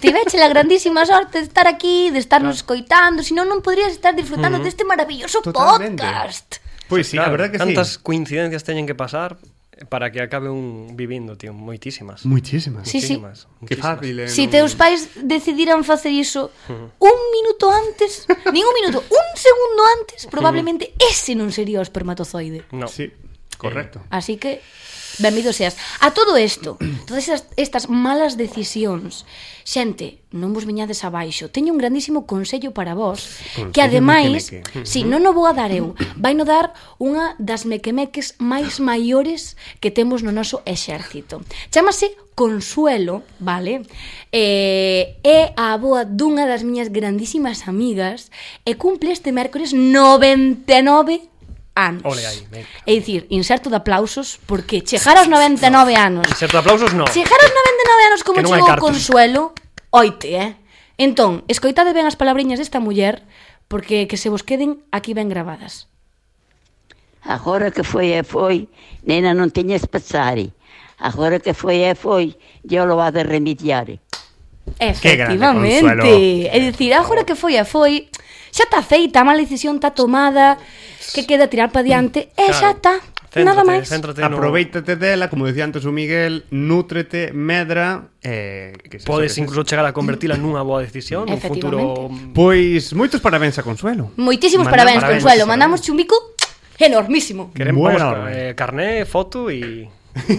Speaker 2: Tiveche la grandísima sorte de estar aquí De estarnos escoitando Se non, non podrías estar disfrutando deste maravilloso
Speaker 1: Mm. Totalmente.
Speaker 2: podcast
Speaker 1: Pois sí, a verdade que
Speaker 3: tantas
Speaker 1: sí.
Speaker 3: coincidencias teñen que pasar para que acabe un vivindo, tío, moitísimas.
Speaker 1: Muchísimas.
Speaker 2: Sí, sí.
Speaker 3: Muchísimas,
Speaker 1: Que
Speaker 3: muchísimas.
Speaker 1: fácil, eh. Mm.
Speaker 2: Si
Speaker 1: non-
Speaker 2: teus pais decidiran facer iso un minuto antes, nin un minuto, un segundo
Speaker 1: Mm.
Speaker 2: antes, probablemente ese non sería o espermatozoide.
Speaker 3: No.
Speaker 1: Sí, correcto.
Speaker 3: Eh,
Speaker 2: Así que, benvido seas. A todo isto, todas estas, estas malas decisións, xente, non vos viñades abaixo. Teño un grandísimo consello para vos,
Speaker 1: Consello
Speaker 2: que ademais,
Speaker 1: mequemeque.
Speaker 2: si non o vou a dar eu, vai no dar unha das mequemeques máis maiores que temos no noso exército. Chámase Consuelo, vale? Eh, é a aboa dunha das miñas grandísimas amigas e cumple este mércores 99 anos.
Speaker 3: Ole aí, venga.
Speaker 2: É dicir, inserto de aplausos porque chegar aos 99 anos.
Speaker 3: Certo aplausos, no.
Speaker 2: Chegar aos 99 anos como
Speaker 3: Que non hai
Speaker 2: chegou o
Speaker 3: cartos.
Speaker 2: Consuelo, oite, eh? Entón, escoitade ben as palabriñas desta muller porque que se vos queden aquí ben grabadas.
Speaker 6: Agora que foi e foi, nena non teñes pasare. Agora que foi e foi, yo lo va de remediare.
Speaker 1: grande,
Speaker 2: Efectivamente.
Speaker 1: Consuelo.
Speaker 2: É dicir, agora que foi a foi, xa está feita, a mala decisión está tomada, que queda tirar para diante, e
Speaker 3: Claro.
Speaker 2: xa está,
Speaker 3: Céntrate,
Speaker 2: nada máis.
Speaker 3: Céntrate no-
Speaker 1: Aproveítate dela, como decía antes o Miguel, nútrete, medra, eh, que se
Speaker 3: Podes
Speaker 1: que se-
Speaker 3: incluso chegar a convertila nunha boa decisión, un futuro
Speaker 1: Pois moitos parabéns a Consuelo. Mandamos
Speaker 2: Moitísimos parabéns,
Speaker 3: parabéns,
Speaker 2: Consuelo.
Speaker 3: parabéns.
Speaker 2: Mandamos chumbico enormísimo.
Speaker 3: Queremos
Speaker 1: Buena
Speaker 3: vamos,
Speaker 1: hora.
Speaker 3: eh, carné, foto e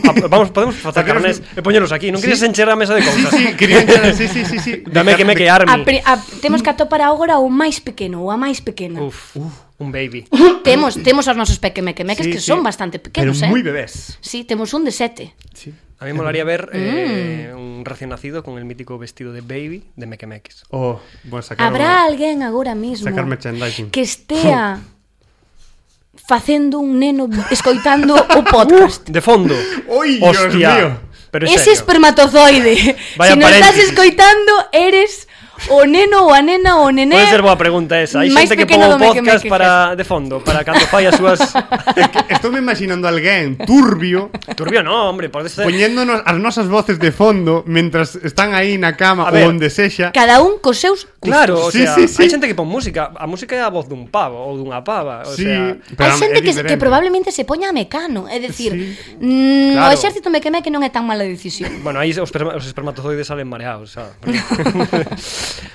Speaker 3: Ah, vamos, podemos facer
Speaker 1: Saquemos
Speaker 3: carnés e
Speaker 1: un-
Speaker 3: poñelos aquí. Non querías encher a mesa de cousas.
Speaker 1: Sí, querían que- sí, sí, sí, sí.
Speaker 3: Dame que me que
Speaker 2: A,
Speaker 3: army.
Speaker 2: pri- a, temos que atopar agora o máis pequeno ou a máis pequena.
Speaker 3: Uf, un baby.
Speaker 2: Temos temos os nosos pequemequemeques que son bastante pequenos,
Speaker 1: Pero
Speaker 2: eh?
Speaker 1: moi bebés.
Speaker 2: Sí, temos un de sete.
Speaker 1: Sí.
Speaker 3: A mí me molaría ver eh, un
Speaker 2: Mm.
Speaker 3: recién nacido con el mítico vestido de baby de Mequemeques.
Speaker 1: Oh, vou sacar unha-
Speaker 2: Habrá alguén agora mesmo
Speaker 1: sacar merchandising.
Speaker 2: que estea facendo un neno escoitando
Speaker 3: Uh,
Speaker 2: o podcast.
Speaker 3: De fondo.
Speaker 1: Oi, Dios
Speaker 3: Hostia.
Speaker 1: mío.
Speaker 3: Pero
Speaker 2: Ese
Speaker 3: serio.
Speaker 2: espermatozoide.
Speaker 3: Vaya
Speaker 2: se non estás
Speaker 3: paréntesis.
Speaker 2: escoitando, eres o neno ou a nena ou o nené.
Speaker 3: Pode ser boa pregunta esa. Hai
Speaker 2: máis
Speaker 3: xente que pon
Speaker 2: pequeno
Speaker 3: o
Speaker 2: do
Speaker 3: podcast
Speaker 2: Mequemeques.
Speaker 3: para de fondo, para cando fai as súas
Speaker 1: Estou me imaginando alguén turbio
Speaker 3: Turbio no, hombre, por ser...
Speaker 1: poñéndonos as nosas voces de fondo mentras están aí na
Speaker 3: A
Speaker 1: cama
Speaker 3: ver.
Speaker 1: ou onde sexa.
Speaker 2: Cada un cos seus
Speaker 3: Claro, o
Speaker 1: Sí,
Speaker 3: sea,
Speaker 1: sí, sí.
Speaker 3: hai xente que pon música, a música é a voz dun pavo ou dunha pava, o
Speaker 1: Sí,
Speaker 3: sea,
Speaker 1: pero
Speaker 2: hai xente
Speaker 1: é
Speaker 2: que, se- que
Speaker 1: diferente.
Speaker 2: probablemente se poña a mecano, é dicir,
Speaker 1: Sí.
Speaker 2: sí. mm,
Speaker 3: Claro.
Speaker 2: o exército me queme que non é tan mala decisión.
Speaker 3: Bueno, aí os, esperma- os espermatozoides salen mareados, xa.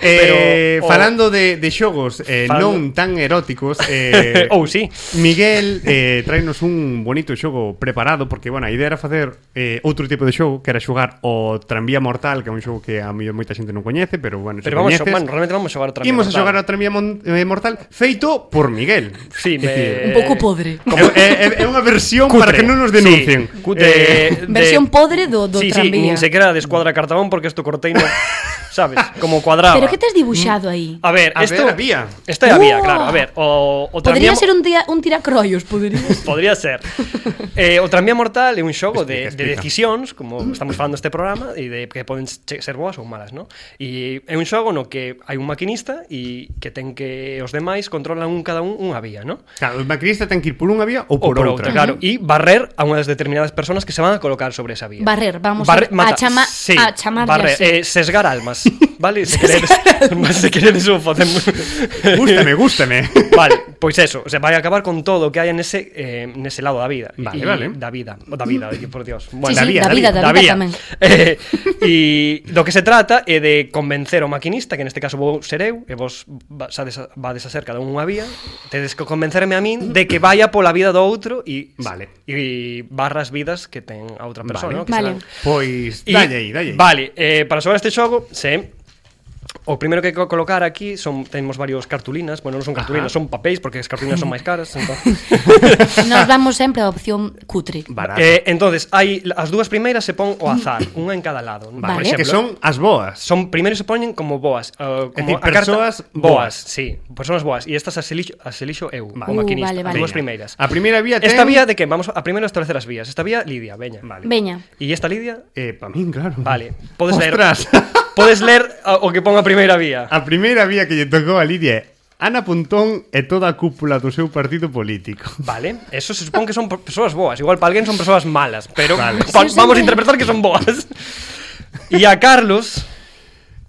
Speaker 1: Eh,
Speaker 3: Pero, o-
Speaker 1: falando de, de xogos eh,
Speaker 3: Falando-
Speaker 1: non tan eróticos eh,
Speaker 3: Ou Oh, sí.
Speaker 1: Miguel eh, traenos un bonito xogo preparado Porque, bueno, a idea era facer eh, outro tipo de xogo Que era xogar o Tranvía Mortal Que é un xogo que a mellor moita xente non coñece Pero, bueno, se
Speaker 3: Pero vamos, a,
Speaker 1: coñeces
Speaker 3: bueno, realmente vamos a jugar otra
Speaker 1: Imos a
Speaker 3: mierda.
Speaker 1: xogar o Tranvía Mon- eh, Mortal Feito por Miguel
Speaker 3: Sí,
Speaker 1: É dicir,
Speaker 3: me...
Speaker 2: Un pouco podre.
Speaker 1: É, é, é unha versión para que non nos denuncien. Eh,
Speaker 3: Sí, cutre, de-
Speaker 2: Versión podre do- do
Speaker 3: sí, Sí,
Speaker 2: tranvía.
Speaker 3: nin sequera de escuadra cartabón porque esto corteino, sabes, como cuadraba.
Speaker 2: Pero que te has dibuixado aí?
Speaker 3: A ver,
Speaker 1: A
Speaker 3: esto
Speaker 1: ver, a vía.
Speaker 3: Esto é a vía,
Speaker 2: Uah.
Speaker 3: claro. A ver, o, o
Speaker 2: Podría
Speaker 3: tranvía-
Speaker 2: ser un, tira, un tiracrollos, podría.
Speaker 3: Podría ser. Eh, o Tranvía Mortal é un xogo de, de
Speaker 1: Explica, explica.
Speaker 3: decisións, como estamos falando este programa, e de que poden che- ser boas ou malas, no? E é un xogo no que hai un maquinista e que ten que os demais controlan un cada un unha vía, no?
Speaker 1: Claro, o maquinista ten que ir por unha vía ou por,
Speaker 3: ou por outra,
Speaker 1: outra.
Speaker 3: claro, e barrer a unhas determinadas personas que se van a colocar sobre esa vía.
Speaker 2: Barrer, vamos a- a chama-
Speaker 3: sí,
Speaker 2: a chamarlle
Speaker 3: barrer, eh,
Speaker 2: así.
Speaker 3: sesgar almas, vale? Se queredes, mas se queredes o facemos.
Speaker 1: Gústame, gústame.
Speaker 3: Vale, pois eso, o sea, vai acabar con todo o que hai nese eh, nese lado da vida.
Speaker 1: Vale,
Speaker 3: Y-
Speaker 1: vale.
Speaker 3: Da vida, o da vida, oye, por Dios.
Speaker 2: Sí,
Speaker 1: da
Speaker 2: sí,
Speaker 1: vía,
Speaker 2: da
Speaker 1: da
Speaker 2: vida,
Speaker 1: vía,
Speaker 2: da vida tamén.
Speaker 3: Eh, e do que se trata é de convencer o maquinista, que neste caso vou ser eu, e vos va- sades a- vades a ser cada un unha vía, tedes que convencerme a min de que vaya pola vida do outro e
Speaker 1: Vale.
Speaker 3: e barras vidas que ten a outra
Speaker 1: Vale.
Speaker 3: persona, no? que
Speaker 2: Vale.
Speaker 3: serán-
Speaker 1: Pois,
Speaker 3: Y-
Speaker 1: dalle aí, dalle aí.
Speaker 3: Vale, eh, para xogar este xogo, se O primeiro que hai que colocar aquí son temos varios cartulinas, bueno, non son cartulinas,
Speaker 1: Ajá.
Speaker 3: son papéis porque as cartulinas son máis caras, entón.
Speaker 2: Nos vamos sempre á opción cutre.
Speaker 1: Barato.
Speaker 3: eh, entonces, hai as dúas primeiras se pon o azar, unha en cada lado,
Speaker 2: Vale.
Speaker 3: por
Speaker 1: que
Speaker 3: exemplo.
Speaker 1: son as boas.
Speaker 3: son primeiro se poñen como boas, uh, como
Speaker 1: decir,
Speaker 3: a carta-
Speaker 1: persoas
Speaker 3: boas,
Speaker 1: boas.
Speaker 3: sí, persoas boas e estas as elixo, as elixo eu, o
Speaker 1: Vale.
Speaker 3: maquinista,
Speaker 2: Uh, vale,
Speaker 3: as
Speaker 2: vale.
Speaker 3: dúas
Speaker 1: Veña.
Speaker 3: primeiras.
Speaker 1: A primeira vía ten...
Speaker 3: Esta vía de que vamos a primeiro establecer as vías. Esta vía Lidia, veña.
Speaker 1: Vale.
Speaker 2: Veña.
Speaker 3: E esta Lidia
Speaker 1: Eh, pa min, claro.
Speaker 3: Vale, podes
Speaker 1: Ostras.
Speaker 3: ler. Podes ler a- o que ponga a primeira vía.
Speaker 1: A primeira vía que lle tocou a Lidia é Ana Pontón e toda a cúpula do seu partido político.
Speaker 3: Vale, eso se supón que son per- persoas boas, igual para alguén son persoas malas, pero
Speaker 1: Vale.
Speaker 3: pa-
Speaker 2: Sí,
Speaker 3: vamos a
Speaker 2: sí,
Speaker 3: interpretar que son boas. E a Carlos,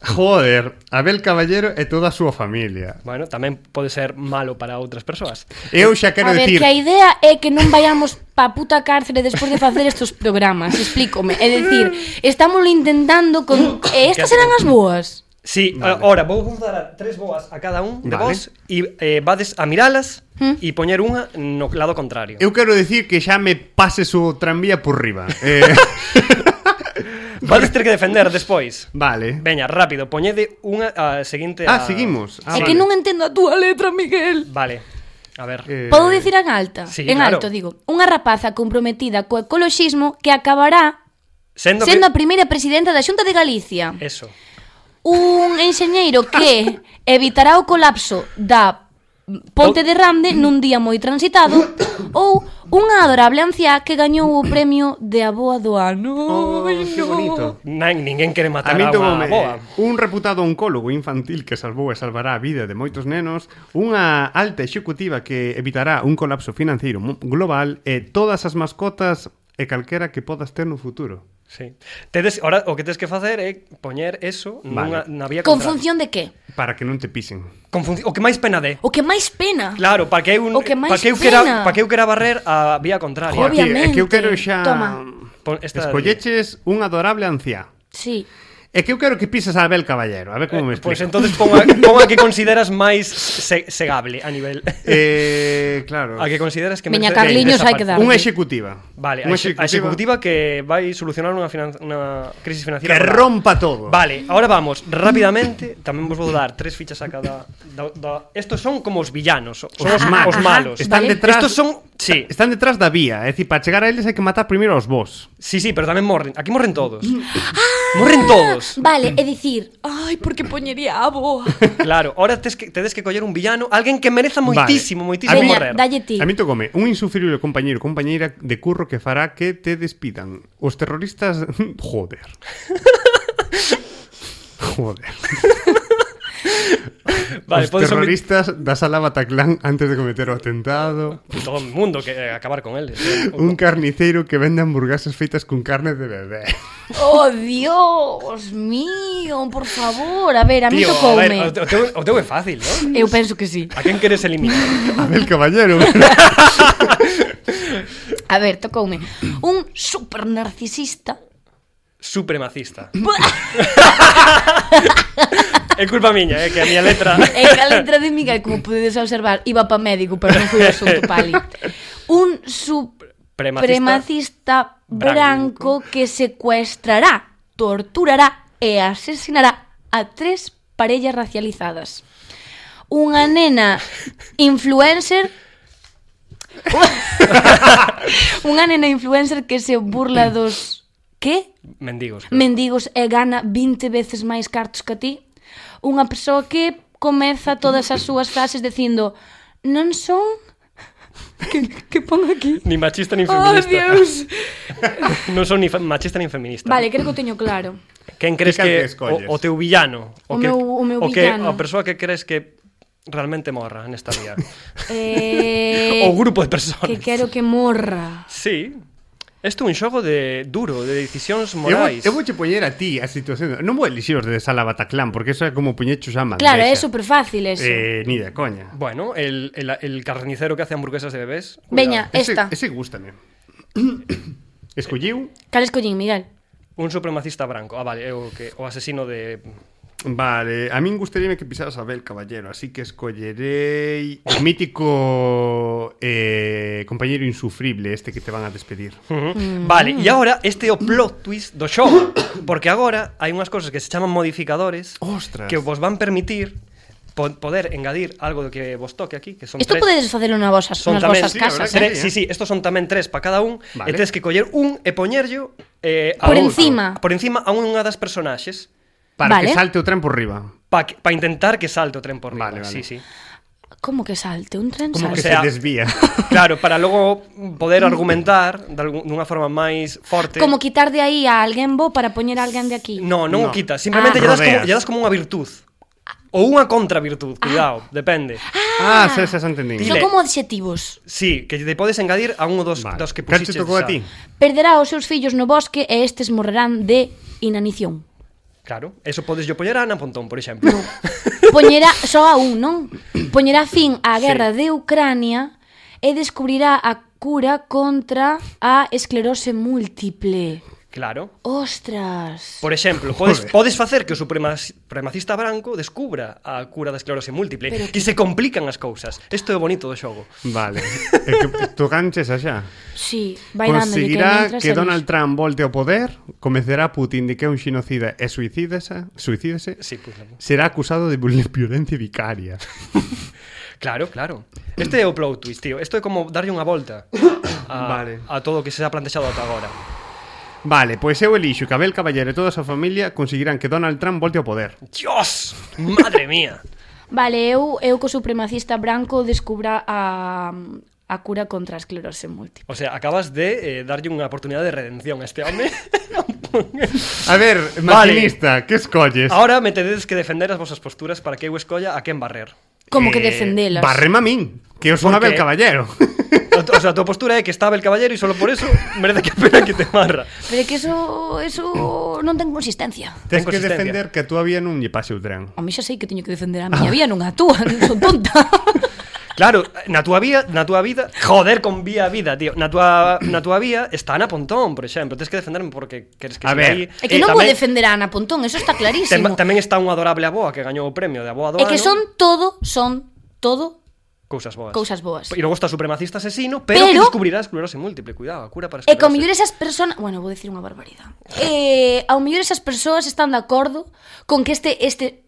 Speaker 1: Joder, Abel Caballero e toda a súa familia.
Speaker 3: bueno, tamén pode ser malo para outras persoas.
Speaker 1: Eu xa quero
Speaker 2: a ver,
Speaker 1: dicir...
Speaker 2: que a idea é que non vaiamos pa puta cárcere despois de facer estes programas, explícome. É dicir, estamos intentando con... E estas eran as boas.
Speaker 3: Sí, vale. ahora vou vos dar a tres boas a cada un de vale.
Speaker 1: Vale.
Speaker 3: vos e eh, vades a miralas
Speaker 2: Hm?
Speaker 3: e poñer unha no lado contrario.
Speaker 1: Eu quero dicir que xa me pase o tranvía por riba. Eh,
Speaker 3: Vades ter que defender despois.
Speaker 1: vale.
Speaker 3: Veña, rápido, poñede unha a seguinte
Speaker 1: Ah,
Speaker 3: a...
Speaker 1: seguimos. Ah,
Speaker 2: é
Speaker 1: vale.
Speaker 2: que non entendo a túa letra, Miguel.
Speaker 3: Vale. A ver.
Speaker 1: Eh,
Speaker 2: Podo dicir en alta,
Speaker 3: sí,
Speaker 2: en
Speaker 3: claro.
Speaker 2: alto digo, unha rapaza comprometida co ecoloxismo que acabará
Speaker 3: sendo
Speaker 2: sendo a
Speaker 3: que...
Speaker 2: primeira presidenta da Xunta de Galicia.
Speaker 3: Eso.
Speaker 2: Un enxeñeiro que evitará o colapso da Ponte de Rande nun día moi transitado ou unha adorable anciá que gañou o premio de aboa do ano.
Speaker 1: Oh,
Speaker 2: Ai,
Speaker 1: que
Speaker 2: no.
Speaker 1: bonito.
Speaker 3: Nan, ninguén quere
Speaker 1: A
Speaker 3: matar a,
Speaker 1: mí
Speaker 3: unha
Speaker 1: tomoume
Speaker 3: boa.
Speaker 1: un reputado oncólogo infantil que salvou e salvará a vida de moitos nenos, unha alta executiva que evitará un colapso financeiro mu- global e todas as mascotas e calquera que podas ter no futuro.
Speaker 3: Sí. Tedes, ahora o que tes que facer é poñer eso vale. nunha
Speaker 1: Vale.
Speaker 3: na vía
Speaker 2: Con
Speaker 3: contraria.
Speaker 2: función de que?
Speaker 1: Para que non te pisen.
Speaker 3: Con función, o que máis pena dé.
Speaker 2: O que máis pena.
Speaker 3: Claro, para que eu
Speaker 2: O que máis
Speaker 3: para que eu
Speaker 2: pena.
Speaker 3: quera, para que eu quera barrer a vía contraria.
Speaker 1: Joder,
Speaker 2: Obvio.
Speaker 1: É que eu quero xa...
Speaker 2: Obviamente. Toma.
Speaker 3: Pon esta-
Speaker 1: Escolleches un adorable anciá.
Speaker 2: Sí.
Speaker 1: É que eu quero que pises a Abel Caballero. A ver como me explico.
Speaker 3: Pois entonces pon a, pon a que consideras máis se, segable a nivel
Speaker 1: Eh, claro.
Speaker 3: a que consideras que
Speaker 2: Veña,
Speaker 3: merece-
Speaker 2: Carliños,
Speaker 3: esa
Speaker 2: hai que
Speaker 3: parte.
Speaker 2: dar.
Speaker 1: Unha executiva.
Speaker 3: Vale, a
Speaker 1: Unha
Speaker 3: exe- a executiva que vai solucionar unha, finan- unha crisis financiera
Speaker 1: Que
Speaker 3: global.
Speaker 1: rompa todo.
Speaker 3: Vale, ahora vamos rápidamente. Tamén vos vou dar tres fichas a cada. Da, da, estos son como os villanos, son os, os malos.
Speaker 1: Están
Speaker 2: Vale.
Speaker 1: detrás.
Speaker 3: Estos son- sí.
Speaker 1: Están detrás da vía, é dicir, para chegar a eles hai que matar primeiro aos vos.
Speaker 3: Sí, sí, pero tamén morren. Aquí morren todos.
Speaker 1: Mm.
Speaker 3: Ah. morren todos.
Speaker 2: Vale, é dicir, ai, porque poñería a aboa.
Speaker 3: Claro, ahora tes que, tedes que coller un villano, alguén que mereza moitísimo,
Speaker 1: Vale.
Speaker 3: moitísimo
Speaker 1: A mí-
Speaker 3: morrer.
Speaker 2: dalle ti.
Speaker 1: A mí tocome un insufrible compañeiro compañeira de curro que fará que te despidan. Os terroristas, joder. Joder.
Speaker 3: Vale,
Speaker 1: Os
Speaker 3: podes omi-
Speaker 1: terroristas da sala Bataclan antes de cometer o atentado.
Speaker 3: todo o mundo que eh, acabar con eles. eh.
Speaker 1: Un carniceiro que vende hamburguesas feitas con carne de bebé.
Speaker 2: Oh, Dios mío, por favor. A ver, a mí
Speaker 3: Tío, a ver,
Speaker 2: tocoume.
Speaker 3: o, o, teu, o teu é fácil, ¿no?
Speaker 2: Eu penso que sí.
Speaker 3: A quen queres eliminar?
Speaker 1: Abel Caballero.
Speaker 2: A ver, tocoume. Un super narcisista
Speaker 3: supremacista. é culpa miña, é que a miña letra...
Speaker 2: En a letra de Miguel, como podedes observar, iba para médico, pero non foi o asunto pali. Un
Speaker 3: Premacista.
Speaker 2: supremacista branco que secuestrará, torturará e asesinará a tres parellas racializadas. Unha nena influencer Unha nena influencer que se burla dos que?
Speaker 3: Mendigos. creo.
Speaker 2: mendigos e gana 20 veces máis cartos que ti, unha persoa que comeza todas as súas frases dicindo non son que, que pon aquí?
Speaker 3: Ni machista ni
Speaker 2: Oh,
Speaker 3: feminista.
Speaker 2: Dios!
Speaker 3: non son ni fe- machista ni feminista.
Speaker 2: Vale, creo que o teño claro.
Speaker 3: Quen crees
Speaker 1: Cal que
Speaker 3: que
Speaker 1: escolles?
Speaker 3: o, o teu villano?
Speaker 2: O
Speaker 3: que,
Speaker 2: meu- o meu
Speaker 3: que,
Speaker 2: villano.
Speaker 3: A persoa que crees que realmente morra nesta vida.
Speaker 2: Eh,
Speaker 3: o grupo de personas.
Speaker 2: que quero que morra.
Speaker 3: Sí. Isto é un xogo de duro, de decisións
Speaker 1: Eu vou,
Speaker 3: morais.
Speaker 1: eu vou che poñer a ti a situación Non vou elixir os de Sala Bataclan Porque eso é como puñechos a mandeixa
Speaker 2: Claro, é super fácil eso.
Speaker 1: eh, Ni de coña
Speaker 3: Bueno, el, el, el carnicero que hace hamburguesas de bebés. cuidado.
Speaker 2: Veña, esta.
Speaker 1: Ese, ese gústame Escolliu
Speaker 2: Cal escollín, Miguel?
Speaker 3: Un supremacista branco. Ah, vale, é o, que, o asesino de...
Speaker 1: Vale, a min gustaríame que pisaras a Bel Caballero Así que escollerei O mítico eh, compañero insufrible Este que te van a despedir
Speaker 2: Mm.
Speaker 3: Ujú. Vale, e agora este é o plot twist do xogo, porque agora hai unhas cousas que se chaman modificadores
Speaker 1: Ostras.
Speaker 3: que vos van permitir po poder engadir algo do que vos toque aquí, que son
Speaker 2: Isto
Speaker 3: tres.
Speaker 2: podedes facelo nas vosas,
Speaker 3: Son
Speaker 2: nas
Speaker 3: tamén
Speaker 2: vosas
Speaker 1: Sí, a
Speaker 2: casas,
Speaker 1: verdad que
Speaker 2: eh?
Speaker 3: Tres, sí, sí, estos son tamén tres para cada un E
Speaker 1: Vale.
Speaker 3: tens que coller un e poñerllo eh, a
Speaker 2: Por
Speaker 3: un-
Speaker 2: encima.
Speaker 3: Por encima a unha das personaxes
Speaker 1: Para que
Speaker 2: Vale.
Speaker 1: salte o tren por riba
Speaker 3: Para pa intentar que salte o tren por riba
Speaker 1: Vale, vale.
Speaker 3: sí, sí.
Speaker 2: Como que salte? Un tren
Speaker 1: Como que
Speaker 2: salte?
Speaker 3: sea-
Speaker 1: se desvía
Speaker 3: Claro, para logo poder argumentar de algún- dunha forma máis forte
Speaker 2: Como quitar de aí a alguén bo para poñer a alguén de aquí.
Speaker 3: No, non
Speaker 1: No.
Speaker 3: o quita, simplemente
Speaker 1: Ah.
Speaker 3: lle das como,
Speaker 1: Rodeas.
Speaker 3: lle das como unha virtud ou unha contravirtud, cuidado, depende.
Speaker 1: Ah, xa, xa, xa entendín
Speaker 2: Son
Speaker 3: Dile.
Speaker 2: como adxetivos.
Speaker 3: Sí, que lle podes engadir a un dos,
Speaker 1: Vale.
Speaker 3: dos que
Speaker 1: Cal te
Speaker 3: puxistes.
Speaker 1: tocou a
Speaker 3: xa.
Speaker 1: ti?
Speaker 2: Perderá os seus fillos no bosque e estes morrerán de inanición.
Speaker 3: Claro, eso podes yo poñer a Ana Pontón, por exemplo.
Speaker 2: Poñerá só a un, non? Poñerá fin á guerra sí. de Ucrania e descubrirá a cura contra a esclerose múltiple.
Speaker 3: Claro.
Speaker 2: Ostras.
Speaker 3: Por exemplo, podes, podes facer que o suprema- supremacista branco descubra a cura da esclerose múltiple
Speaker 2: Pero
Speaker 3: e se complican as cousas. Isto é o bonito do xogo.
Speaker 1: Vale E que Tocanches allá
Speaker 2: Sí, vai dándolle que
Speaker 1: Conseguirá
Speaker 2: mentre
Speaker 1: que, Donald Trump volte ao poder Comecerá Putin de que é un xinocida E suicídese, suicídese
Speaker 3: Sí, pues,
Speaker 1: Será acusado de viol- violencia vicaria
Speaker 3: claro, claro. Este é o plot twist, tío. Isto é como darlle unha volta a,
Speaker 1: Vale.
Speaker 3: a todo o que se ha plantexado ata agora.
Speaker 1: Vale, pois eu elixo que Abel Caballero e toda a súa familia Conseguirán que Donald Trump volte ao poder
Speaker 3: Dios! Madre mía!
Speaker 2: Vale, eu, eu co supremacista branco descubra a, a cura contra a esclerose múltiple.
Speaker 3: O sea, acabas de eh, darlle unha oportunidade de redención a este home.
Speaker 1: A ver,
Speaker 3: Vale.
Speaker 1: maquinista, que escolles?
Speaker 3: Ahora me tedes que defender as vosas posturas para que eu escolla a quen barrer.
Speaker 2: Como que defendelas.
Speaker 1: Barrema Eh, a min, que eu son
Speaker 3: Por
Speaker 1: Abel
Speaker 3: qué?
Speaker 1: Caballero
Speaker 3: O, o sea, a tua postura é que estaba el caballero e solo por eso merece que a pena que te marra.
Speaker 2: Pero é que eso, eso non ten consistencia.
Speaker 1: Tens que
Speaker 3: consistencia.
Speaker 1: defender que a túa vía non lle pase o tren
Speaker 2: A mí xa sei que teño que defender a miña vía, non a túa, non son tonta.
Speaker 3: Claro, na túa vía, na túa vida, joder con vía a vida, tío. Na túa, na túa vía está Ana Pontón, por exemplo. Tens que defenderme porque queres que
Speaker 1: A
Speaker 3: siga
Speaker 1: ver.
Speaker 3: aí.
Speaker 2: É que
Speaker 3: Eh,
Speaker 2: non vou
Speaker 3: tamén-
Speaker 2: defender a Ana Pontón, eso está
Speaker 3: tem-
Speaker 2: clarísimo.
Speaker 3: Tamén está unha adorable aboa que gañou o premio de aboa do
Speaker 2: É que
Speaker 3: ano.
Speaker 2: son todo, son todo
Speaker 3: cousas boas.
Speaker 2: cousas boas.
Speaker 3: E logo está o supremacista asesino, pero,
Speaker 2: Pero-
Speaker 3: que descubrirás esclerose múltiple, cuidado, a cura para
Speaker 2: E que ao
Speaker 3: esclerose.
Speaker 2: mellor esas persoas, bueno, vou dicir unha barbaridade. Eh, ao mellor esas persoas están de acordo con que este este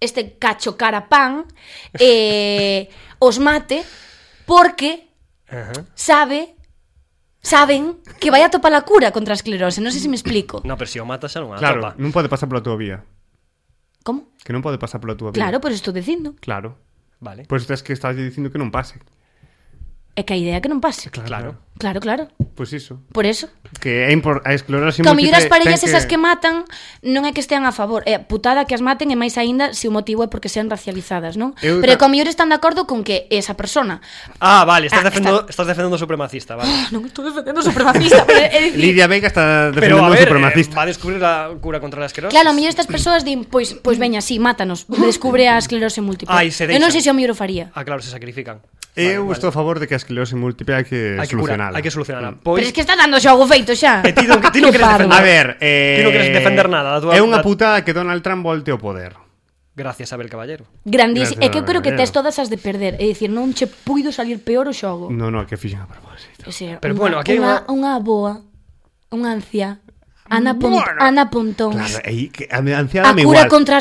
Speaker 2: este cacho carapán eh, os mate porque
Speaker 3: Ajá.
Speaker 2: sabe saben que vai a topar a cura contra a esclerose, non sei se me explico.
Speaker 3: No, pero se o mata xa non a
Speaker 1: Claro,
Speaker 3: atopa.
Speaker 1: non pode pasar pola túa vía
Speaker 2: Como?
Speaker 1: Que non pode pasar pola túa vía
Speaker 2: Claro, pero estou dicindo.
Speaker 1: Claro
Speaker 3: Vale.
Speaker 1: Pois tens que estar dicindo que non pase
Speaker 2: É que a idea é que non pase.
Speaker 3: Claro.
Speaker 2: Claro, claro.
Speaker 1: Pois iso
Speaker 2: Por eso.
Speaker 1: Que é impor... a esclerosis
Speaker 2: Que ao mellor as
Speaker 1: múltiple
Speaker 2: parellas
Speaker 1: ten
Speaker 2: esas que matan non é que estean a favor. É a putada que as maten e máis aínda se o motivo é porque sean racializadas, non?
Speaker 1: Eu ta-
Speaker 2: Pero que ao mellor están de acordo con que esa persona
Speaker 3: Ah, vale, estás
Speaker 2: Ah,
Speaker 3: defendendo, estás defendendo o supremacista, vale.
Speaker 2: non estou defendendo o supremacista, pero é dicir,
Speaker 1: Lidia Vega está
Speaker 3: Pero a
Speaker 1: defendendo o
Speaker 3: ver, eh,
Speaker 1: supremacista.
Speaker 3: va a descubrir a cura contra la esclerosis.
Speaker 2: Claro, ao mellor estas persoas din, pois, pois veña, sí, mátanos, descubre a esclerose múltiple.
Speaker 3: Ai, se
Speaker 2: Eu non
Speaker 3: deixan.
Speaker 2: sei se ao mellor o faría.
Speaker 3: Ah, claro, se sacrifican.
Speaker 1: Eu
Speaker 3: Vale,
Speaker 1: estou a favor de que a esclerosis múltiple hai que
Speaker 3: Hai que curar,
Speaker 1: solucionala.
Speaker 3: hai que solucionala. pois
Speaker 5: Pero es que está dando xogo feito xa.
Speaker 3: E ti non- ti non
Speaker 5: Que
Speaker 3: queres
Speaker 5: parvo.
Speaker 3: defender.
Speaker 1: A ver, eh,
Speaker 3: Ti non queres defender nada, a tua-
Speaker 1: É
Speaker 3: a-
Speaker 1: unha putada que Donald Trump volte ao poder.
Speaker 3: gracias Abel Caballero.
Speaker 2: Grandísimo.
Speaker 1: Gracias,
Speaker 2: É que eu creo que tes
Speaker 1: Gabriela.
Speaker 2: todas as de perder. É dicir, non che puido salir peor o xogo.
Speaker 1: No, no, que fixen a propósito.
Speaker 2: O sea,
Speaker 3: Pero
Speaker 2: unha,
Speaker 3: bueno, aquí hai
Speaker 2: unha,
Speaker 3: unha-
Speaker 2: unha boa, unha anciá, Ana, Pon
Speaker 1: Bueno.
Speaker 2: Ana Pontón.
Speaker 1: Claro, aí que a me- anciá
Speaker 2: A
Speaker 1: dame
Speaker 2: cura
Speaker 1: igual,
Speaker 2: contra a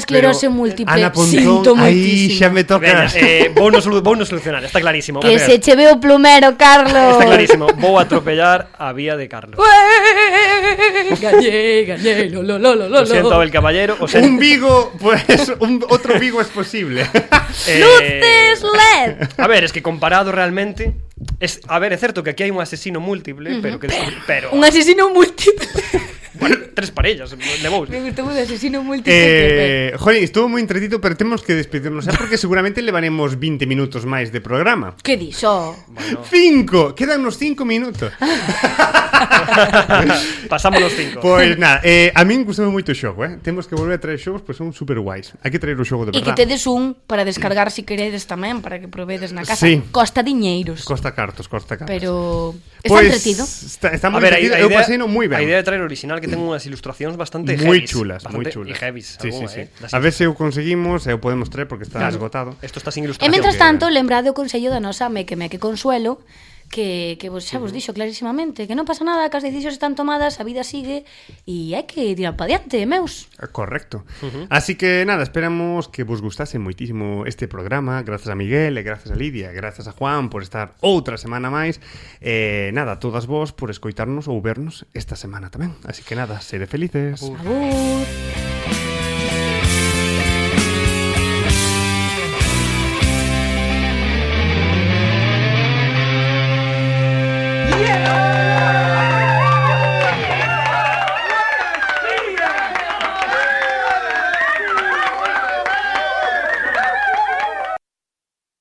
Speaker 1: pero
Speaker 2: esclerose múltiple,
Speaker 1: Ana
Speaker 2: sinto
Speaker 1: Pontón, aí
Speaker 2: moitísimo.
Speaker 1: xa me toca.
Speaker 3: Veña, eh, vou, no, solu- vou no solucionar, está clarísimo. A ver,
Speaker 2: Que se che ve o plumero, Carlos.
Speaker 3: Está clarísimo, vou atropellar a vía de Carlos.
Speaker 5: Galle, galle, lo, lo, lo, lo, lo.
Speaker 3: Lo siento Abel Caballero, o sea,
Speaker 1: Un Vigo, pues un otro Vigo es posible.
Speaker 3: eh,
Speaker 2: Luces LED.
Speaker 3: A ver, es que comparado realmente es, A ver, é certo que aquí hai un asesino múltiple Pero que pero,
Speaker 5: Un asesino múltiple.
Speaker 3: bueno, tres parellas levou.
Speaker 5: Me gustou o de asesino múltiple.
Speaker 1: eh, jolín, estuvo muy entretito, pero tenemos que despedirnos xa, porque seguramente levaremos 20 minutos máis de programa.
Speaker 5: Que dis, oh.
Speaker 3: Bueno,
Speaker 1: Cinco, quedan unos cinco minutos.
Speaker 3: pasamos los cinco
Speaker 1: Pois nada, eh, a min gustame moito o xogo, eh? Temos que volver a traer xogos, pois son super guais. Hai que traer o xogo de
Speaker 5: E que
Speaker 1: verdad.
Speaker 5: tedes un para descargar se si queredes tamén, para que provedes na casa.
Speaker 1: Sí.
Speaker 5: Costa diñeiros.
Speaker 1: Costa cartos, costa cartos.
Speaker 5: Pero está
Speaker 1: Pois,
Speaker 5: entretido.
Speaker 1: Está, está moi entretido, eu pasei no moi ben.
Speaker 3: a idea de traer o original que ten unhas ilustracións bastante
Speaker 1: moi
Speaker 3: heavies,
Speaker 1: chulas, moi
Speaker 3: bastante-
Speaker 1: chulas.
Speaker 3: Y heavies,
Speaker 1: sí,
Speaker 3: alguna,
Speaker 1: sí, sí.
Speaker 3: eh, das
Speaker 1: A ver se o conseguimos, e o podemos traer porque está
Speaker 3: Claro.
Speaker 1: agotado.
Speaker 3: Esto está sin
Speaker 2: E
Speaker 3: ilustración.
Speaker 2: mentras
Speaker 1: que-
Speaker 2: tanto, lembrade o consello da nosa Meque Meque Consuelo, que, que vos, xa vos dixo clarísimamente que non pasa nada, que as decisións están tomadas, a vida sigue e hai que tirar pa diante, meus.
Speaker 1: Ah, Correcto. Así que nada, esperamos que vos gustase moitísimo este programa. Gracias a Miguel, e gracias a Lidia, e gracias a Juan por estar outra semana máis. Eh, nada, todas vos por escoitarnos ou vernos esta semana tamén. Así que nada, sede felices.
Speaker 2: Abur.
Speaker 1: Adiós.